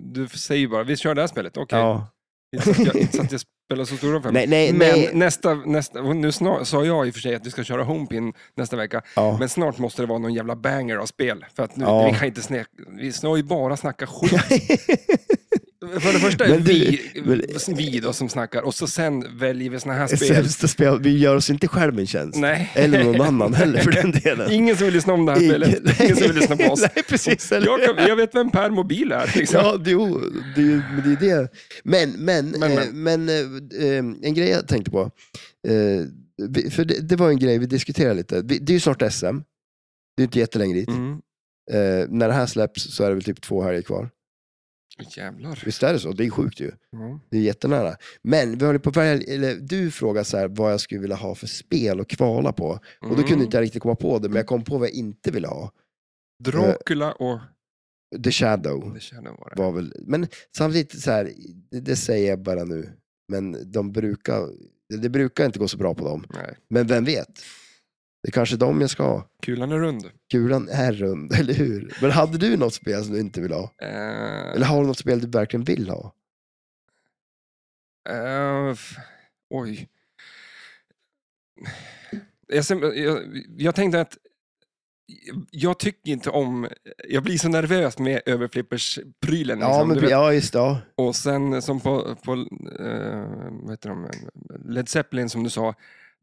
du säger ju bara, vi kör det här spelet, okej.
Ja.
Inte så att jag, inte så att jag spelar så stora fem.
Nej, nej,
men
nej.
nästa, nästa, och nu snar, sa jag i och för sig att vi ska köra Homepin nästa vecka,
Ja. <laughs>
men snart måste det vara någon jävla banger av spel. För att nu,
Ja.
vi kan inte snack, vi ska ju bara snacka
<laughs>
skit. För det första är
Men du-
vi,
men-
vi då som snackar och så sen väljer vi
<laughs>
såna här spel.
Sämsta spel. Vi gör oss inte själv en tjänst.
Nej.
Eller någon annan heller för den
<laughs>
delen.
Ingen som vill lyssna om det här spelet. Ingen som vill lyssna på oss.
Nej, precis. Eller?
Jag, kan, jag vet vem Per Mobil är. Liksom.
Ja, det, jo, det, är ju- men det är det. Men, men,
Men,
men, eh, men eh, eh, en grej jag tänkte på. Eh, vi- för det, det var en grej vi diskuterade lite. Vi, det är ju snart SM. Det är inte jättelänge dit.
Mm.
Eh, när det här släpps så är det väl typ två helger kvar.
Jävlar. Mm.
Visst är det så? Det är sjukt ju.
Ja.
Det är jättenära. Men vi håller på att välja, eller du frågade så här, vad jag skulle vilja ha för spel att kvala på. Och då
Mm.
kunde inte jag riktigt komma på det, men jag kom på vad jag inte ville ha. Eh,
Dracula och...
The Shadow
Det känner jag bara.
var väl, men samtidigt så här, det, det säger jag bara nu, men de brukar, det, det brukar inte gå så bra på dem.
Nej.
Men vem vet? Det är kanske de jag ska ha.
Kulan är rund.
Kulan är rund, <laughs> eller hur? Men hade du något spel som du inte vill ha?
Eh,
Eller har du något spel du verkligen vill ha?
eh, f- oj. Jag, ser- jag, jag tänkte att jag tycker inte om... Jag blir så nervös med överflippers-prylen.
Ja,
liksom.
men,
Du vet,
ja just det. Ja.
Och sen som på, på eh, vad heter de? Led Zeppelin som du sa,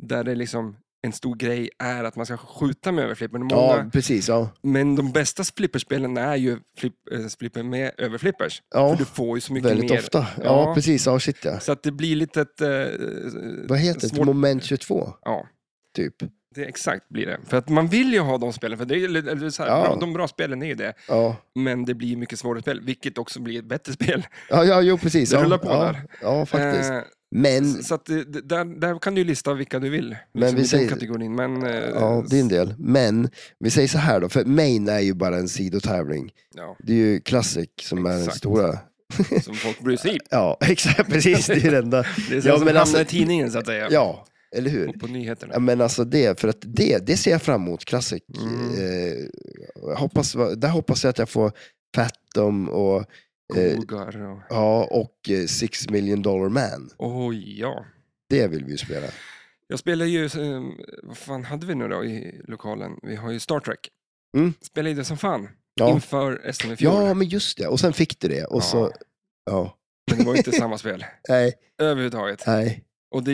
där det liksom en stor grej är att man ska skjuta med överflippen. Många,
ja, precis. Ja.
Men de bästa flipperspelen är ju flipp, eh, flipper med överflippers.
Ja,
För du får ju så mycket
väldigt
mer.
ofta. Ja,
Ja.
precis. Ja, shit ja.
Så att det blir lite ett... eh,
Vad heter det?
svårt-
Moment 22,
Ja,
typ.
det, exakt blir det. För att man vill ju ha de spelen, för det är, ju- eller, eller så här,
Ja.
bra, de bra spelen är ju det.
Ja,
Men det blir mycket svårare spel, vilket också blir ett bättre spel.
ja, ja jo, precis.
Det
ja,
rullar på
ja,
där.
Ja, <laughs> faktiskt.
Eh,
Men,
Så att det, det- där, där kan du ju lista vilka du vill
Men
liksom,
vi
i
säger-
den kategorin. Men, eh,
ja, din del. Men, vi säger så här då, för main är ju bara en sidotävling.
ja,
Det är ju Classic som är den
Exakt.
stora.
som folk bryr
<laughs>
sig i.
Ja, exakt, precis. Det är
<laughs>
det enda.
Det är
Ja,
ja, som
men
hamnar
alltså-
i tidningen så att säga.
Ja, eller hur?
Och på nyheterna.
Ja, men alltså det, för att det, det ser jag fram emot, Classic.
Mm.
Eh, jag hoppas, där hoppas jag att jag får Fathom och, eh,
Kogar och...
ja, och eh, Six Million Dollar Man.
Oj, ja.
Det vill vi ju spela.
Jag spelar ju, eh, vad fan hade vi nu då i lokalen? Vi har ju Star Trek.
Mm.
Spelade ju det som fan
Ja.
inför SM i fjol.
Ja, men just det. Och sen fick du det. Och
Ja,
så, ja.
Men det var ju inte samma spel <laughs>
Nej,
överhuvudtaget.
nej.
Och det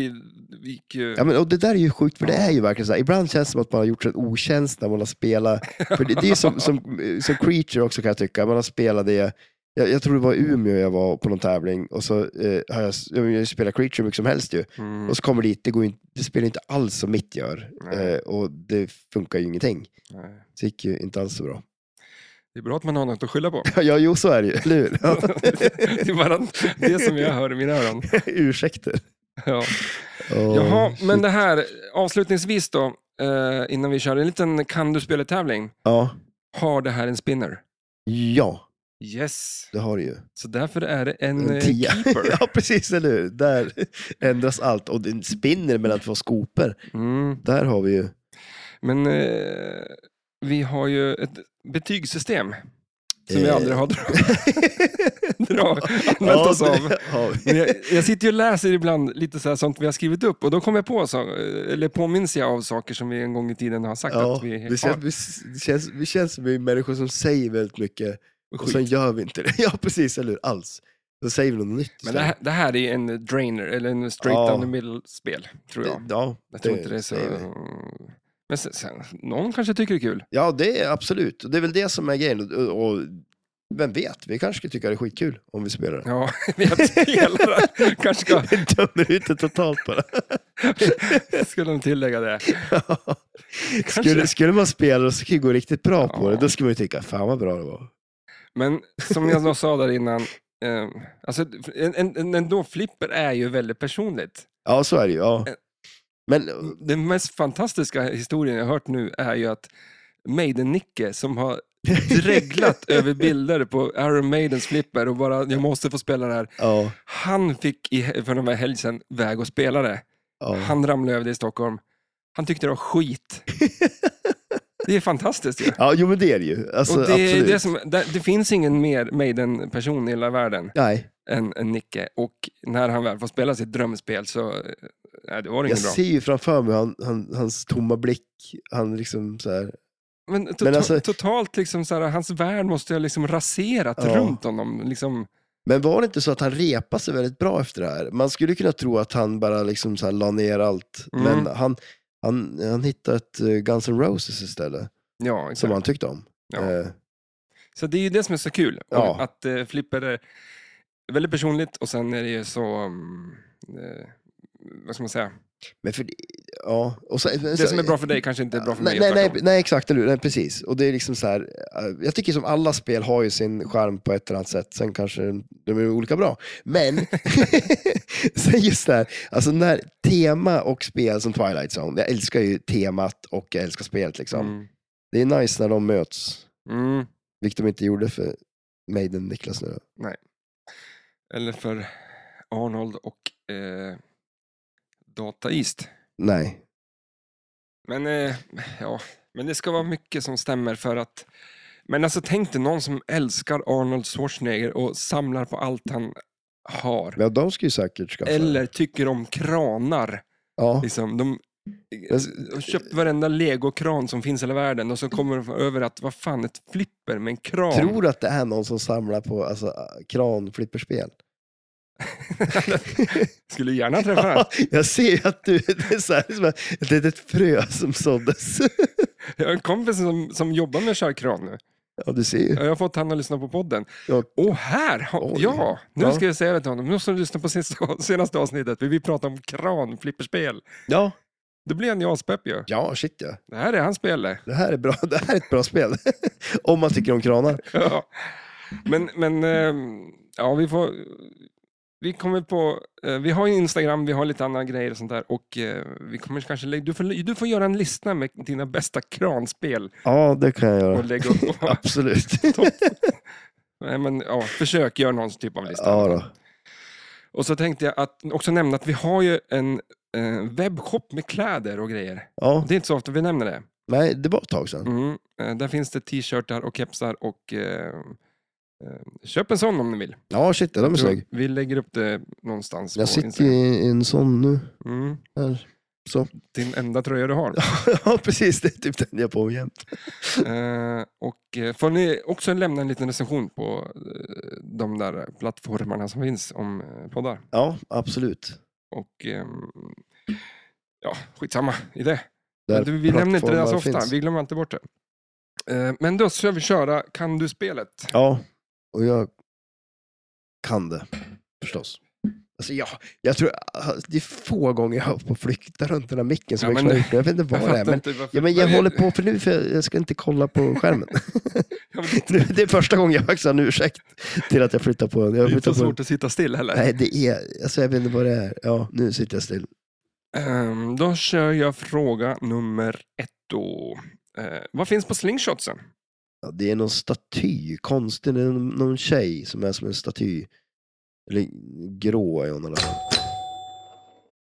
gick ju...
Ja, men, och det där är ju sjukt, för det
Ja.
är ju verkligen så här. Ibland känns det som att man har gjort sig en otjänst när man har spelat. För det, det är ju som, som, eh, som Creature också kan jag tycka. Man har spelat det. Jag, jag tror det var i Umeå jag var på någon tävling och så eh, har jag, jag har ju spelat Creature hur mycket som helst ju.
Mm.
Och så kommer dit, det, går ju, inte- det spelar ju inte alls som mitt gör.
Nej.
Eh, och det funkar ju ingenting.
Nej.
Så Det gick ju inte alls så bra. <laughs>
Det är bra att man har något att skylla på.
Ja, jo så är det ju, eller hur? <laughs> Ja.
<laughs> det är bara det som jag hör i mina öron.
Ursäkter.
Ja.
Åh,
Jaha,
shit.
men det här, avslutningsvis då, eh, innan vi kör en liten kan du spela-tävling.
Ja.
Har det här en spinner?
ja.
Yes,
Det har du ju.
så därför är det en,
En
eh,
tia.
keeper.
<laughs> ja, precis, eller hur? Där ändras allt. Och den spinner mellan två skopor.
Mm.
Där har vi ju...
Men eh, vi har ju ett betygssystem som vi
Eh.
aldrig har
<laughs>
dra- dra- använt oss av.
det har vi.
Men jag, jag sitter ju och läser ibland lite så här sånt vi har skrivit upp och då kommer jag på, så, eller påminns jag av saker som vi en gång i tiden har sagt
Ja,
att vi
det, känns,
har.
vi, det, känns, vi känns som vi är människor som säger väldigt mycket och sen gör vi inte det. <laughs> Ja, precis, eller hur? Alls. Då säger vi något nytt.
Men det här, det här är en drainer, eller en straight
Ja.
down the middle-spel, tror jag.
istället. Ja,
Jag tror inte det är så...
säger vi.
Men sen, sen, någon kanske tycker det är kul.
Ja, det är absolut. Och det är väl det som är grejen. Och, och Vem vet, vi kanske skulle tycka det är skitkul om vi spelar det.
Ja, <laughs>
<laughs>
vi spelare kanske ska,
Vi dömer ut det totalt bara. <laughs>
skulle de tillägga det. Kanske.
skulle, skulle man spela och så skulle det gå riktigt bra på
Ja.
det, då skulle man ju tycka, fan vad bra det var.
Men som jag då sa där innan, eh, alltså, en, en, en ändå flipper är ju väldigt personligt.
Ja, så är det ju.
Eh,
Ja. Men
Den mest fantastiska historien jag hört nu är ju att Maiden-Nicke som har dreglat över bilder på Iron Maidens flipper och bara, jag måste få spela det här.
<laughs> ja,
Han fick i, för några helg sedan väg och spela det.
ja.
Han ramlade över det i Stockholm. Han tyckte det var
<laughs>
skit. Det är fantastiskt ju.
ja, jo men det är det ju. Alltså,
och det, är
absolut.
det, som, det, det finns ingen mer Maiden-person i hela världen
Nej,
än, än Nicke. Och när han väl får spela sitt drömspel så eh, nej, det var det
jag
inget bra.
ser ju framför mig han, han, hans tomma blick. Han liksom så här,
Men, to-
Men alltså-
totalt, liksom, så här, hans värld måste ha liksom raserat
Ja.
runt honom. Liksom,
Men var det inte så att han repade sig väldigt bra efter det här? Man skulle kunna tro att han bara liksom så här la ner allt,
Mm.
men han, han, han hittade ett eh, Guns N' Roses istället,
ja,
som
exakt.
han tyckte om.
Ja.
Eh,
Så det är ju det som är så kul. Och
Ja.
Att eh, flipper är väldigt personligt och sen är det ju så, mm, eh, vad ska man säga,
Men för, ja, och så,
det som är bra för dig kanske inte är bra för mig.
nej, nej,
tvärtom.
nej, nej, exakt, eller hur? nej, precis. Och det är liksom så här, eh, jag tycker som alla spel har ju sin charm på ett eller annat sätt, sen kanske de är olika bra. Men, <laughs> sen just det här, alltså när tema och spel som Twilight Zone, jag älskar ju temat och jag älskar spelet liksom.
Mm.
Det är nice när de möts,
Mm.
vilket de inte gjorde för Maiden Niklas nu. då.
Eller för Arnold och eh, Data East.
Nej.
Men, eh, ja, men det ska vara mycket som stämmer för att... Men alltså tänk dig någon som älskar Arnold Schwarzenegger och samlar på allt han har.
Men de ska ju säkert skaffa.
Eller tycker om kranar.
Ja.
Liksom. De
Men-
har köpt varenda legokran som finns i hela världen och så kommer de över att vad fan, ett flipper med en kran.
Tror du att det är någon som samlar på alltså,
<laughs>
kranflipperspel? <laughs>
Skulle gärna träffa
<laughs>
den.
jag ser ju att du, det är så här, som ett litet frö som såddes.
Jag har en kompis som, som jobbar med att köra kran nu.
ja, du ser ju.
Jag har fått han att lyssna på podden.
Ja.
Och här! har-
Oj.
Ja, nu
Ja.
ska jag säga det till honom. Nu måste du lyssna på sista- <laughs> senaste avsnittet. Vi vill prata om kranflipperspel.
Ja.
Då blir han ju aspepp ju.
Ja, shit ja.
Det här är hans spel. <laughs> det.
Det här är, bra. Det här är ett bra spel. Om man tycker om kranar.
Ja. Men, men ehm, ja, vi får... Vi kommer på... eh, Vi har ju Instagram, vi har lite andra grejer och sånt där. Och eh, vi kommer kanske lägga... Du får, du får göra en lista med dina bästa kranspel
Ja, det kan jag
och
göra.
lägga upp. på-
Absolut.
Nej, men ja, försök göra någon typ av lista.
ja, då.
Och så tänkte jag att, också nämna att vi har ju en eh, webbshop med kläder och grejer.
ja.
Det är inte så ofta vi nämner det.
Nej, det var ett tag sedan.
Mm. Eh, där finns det t-shirtar och kepsar och eh, eh, köp en sån om ni vill.
Ja, shit ja, de är snygg.
Vi lägger upp det någonstans.
Jag
på
sitter
Instagram.
i en sån nu. <laughs>
mm.
Här. Så.
Din enda tröja du har.
ja, precis. Det är typ den jag har på mig jämt.
Eh, och eh, får ni också lämna en liten recension på eh, de där plattformarna som finns om eh, poddar.
Ja, absolut.
Och ehm, ja, skitsamma i det.
Där
Men du, vi nämner inte det så
plattformar
ofta,
finns.
vi glömmer alltid bort det. Eh, Men då ska vi köra Kan du-spelet.
Ja, och jag kan det. Förstås. Alltså, jag, jag tror, det är få gånger jag har på flykt runt den här micken som
Ja,
jag
men-
klarar ut. Jag vet inte vad det är. Men,
inte varför.
ja, men jag
Men-
håller på för nu, för jag- jag ska inte kolla på skärmen. <laughs>
Ja, men det
Nu- det är första gången jag faktiskt har en ursäkt till att jag flyttar på den. Jag
är inte
flyttar
så
på
svårt att sitta still heller.
Nej, det är, alltså, jag vet inte vad det är. Ja, nu sitter jag still.
Ehm, Då kör jag fråga nummer ett då. Eh, Vad finns på slingshotsen?
Ja, det är någon staty, konstig, det är någon, någon tjej som är som en staty. Eller grå är hon i alla fall.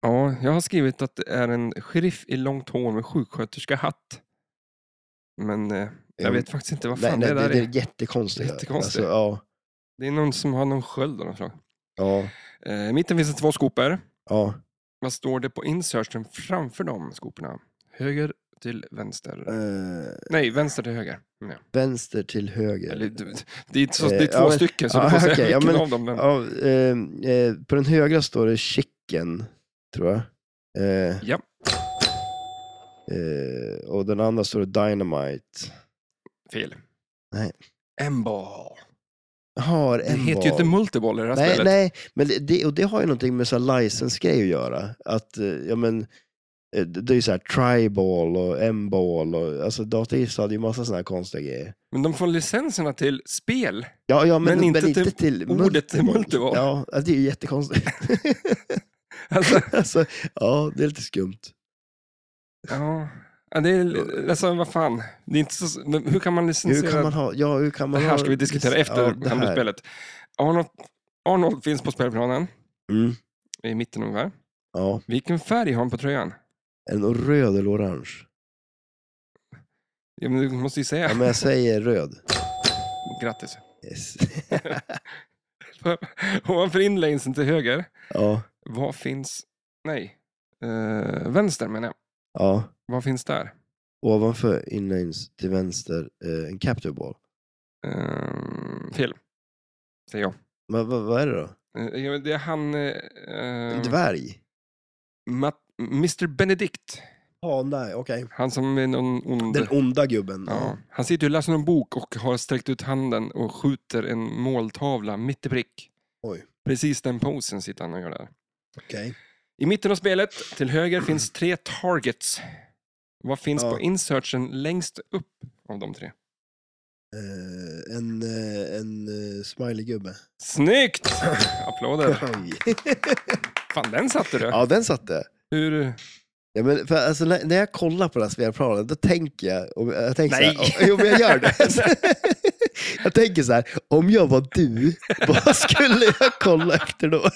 Ja, jag har skrivit att det är en sheriff i långt hår med sjuksköterskehatt. Men eh, jag
Mm.
vet faktiskt inte vad
Nej,
fan
nej,
det
det,
där
det
är.
är jättekonstigt.
Jättekonstigt.
Alltså, ja,
Det är någon som har någon sköld av något slag.
ja,
Eh, I mitten finns det två skopor.
ja.
Vad står det på insertion framför de skoporna? Höger till vänster.
Eh,
Nej, vänster till höger. Nej.
vänster till höger.
Eller, du- det, är, inte så,
Eh,
det är två
ja, men-
stycken, så
ja,
du får säga
okej, ja,
vilken
men-
av dem. Men,
Ja, eh, eh, på den högra står det chicken, tror jag. Eh,
Ja.
Eh, och den andra står det dynamite.
Fel.
Nej.
Emball.
har
Det
en
heter ju inte multiboll i det här
Nej,
spelet.
nej men det- det, och det har ju någonting med så här license-grej att göra. Att, eh, ja men, eh, det det är ju så här tri-ball och m-ball och alltså Dataist hade ju massa sådana här konstiga grejer.
Men de får licenserna till spel. <laughs>
Ja, ja, men,
Men inte till
till
ordet till
multiball.
multiball.
Ja, alltså, det är ju jättekonstigt.
Alltså,
alltså, ja, det är lite skumt.
ja. Ja, det är, alltså vad fan. Det är inte så, men hur kan man
Hur
licensiera?
kan man ha, ja, hur kan man
det
ha,
här ska vi diskutera
ja,
efter
det här.
handelsspelet. Arnold, Arnold finns på spelplanen,
Mm,
i mitten ungefär.
ja,
Vilken färg har han på tröjan?
en röd eller orange?
Ja, men du måste ju säga.
Ja, men jag säger röd.
Grattis. <laughs>
Yes.
Ovanför inlanesen till höger,
ja,
vad finns... Nej. Eh, vänster menar jag.
ja.
Vad finns där?
Ovanför inlanes till vänster, eh, en capture ball.
Uh, fel. Säger jag.
Men vad, vad är det då?
Eh, ja, det är han... eh, eh,
En dvärg?
Matt, Mr Benedict.
Ja, nej, okej.
Han som är någon ond...
Den onda gubben.
Mm. Ja. Han sitter ju och läser någon bok och har sträckt ut handen och skjuter en måltavla mitt i prick.
Oj.
Precis den posen sitter han och gör där.
Okej.
I mitten av spelet, till höger,
<clears throat>
finns tre targets. Vad finns
Ja.
på insertion längst upp av de tre?
Eh, en eh, en eh, smiley-gubbe.
Snyggt!
<clears throat>
Applåder.
Oj.
Fan, den satte du.
<laughs> ja, den satte.
Hur...
Ja, men för, alltså, när, när jag kollar på den här spelplanen, då tänker jag... Om, jag tänker
Nej.
Så här, jo, men jag
<laughs>
gör det. jag tänker så här, om jag var du, vad skulle jag kolla efter då?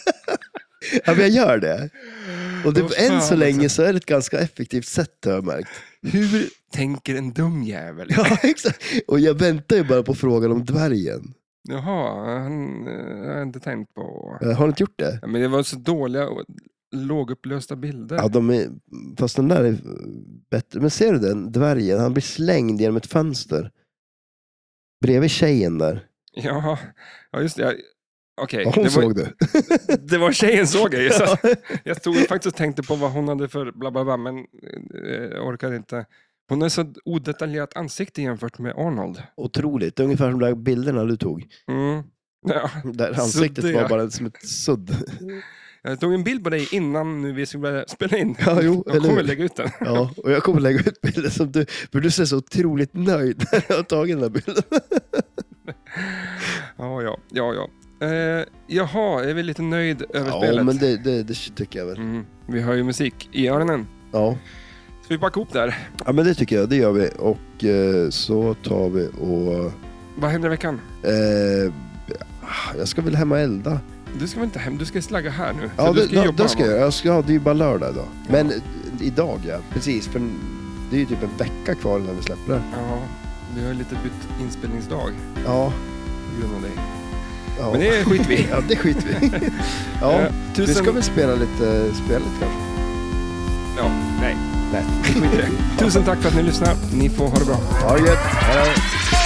ja, men jag gör det. Och det,
Vad fan,
än så
alltså.
länge så är det ett ganska effektivt sätt, har jag märkt. <laughs>
Hur tänker en dum jävel?
Ja, exakt. Och jag väntar ju bara på frågan om dvärgen.
Jaha, han eh, har jag inte tänkt på.
Eh, Har du inte gjort det?
Men det var så dåliga och lågupplösta bilder.
Ja, de är, fast den där är bättre. Men ser du den dvärgen? Han blir slängd genom ett fönster. Bredvid tjejen där.
Ja, ja just det. Ja, Okej,
Ja, hon
det, var-
såg du.
<laughs> det var tjejen såg
<laughs>
jag ju. Så jag stod faktiskt och tänkte på vad hon hade för bla bla bla, men eh, orkade inte. Hon har så odetaljerat ansikte jämfört med Arnold.
Otroligt. Det är ungefär som de där bilderna du tog.
Mm. Ja,
Där ansiktet
Suddiga.
var bara som ett sudd.
jag tog en bild på dig innan nu vi skulle börja spela in.
Ja, jo,
jag
eller
kommer
hur?
lägga ut den.
Ja, och jag kommer lägga ut bilder som du, för du ser så otroligt nöjd när jag har tagit den där bilden.
Ja, ja, ja. ja. Eh, jaha, är vi lite nöjd över
Ja,
spelet?
men det, det, det tycker jag väl.
Mm, vi har ju musik i öronen.
Ja.
Ska vi packa ihop där?
ja, men det tycker jag. Det gör vi. Och eh, så tar vi och...
Vad händer i veckan?
Eh, jag ska väl hem och elda.
Du ska väl inte hem? Du ska slagga här nu.
Ja,
Så du
det,
ska
det,
jobba,
det ska
va?
jag. jag ska, ja, det är ju bara lördag idag.
Ja.
Men eh, idag ja, precis. För det är ju typ en vecka kvar när vi släpper det.
Ja, vi har ju lite bytt inspelningsdag
Ja.
på grund av dig.
ja.
Men det skiter vi i.
Ja, det skiter vi i. ja,
Eh,
Vi ska
tusen...
väl spela lite spelet kanske.
Ja, nej.
Nej.
Skit i det. Tusen tack för att ni lyssnar. Ni får ha det bra.
Ha det gött. Hej.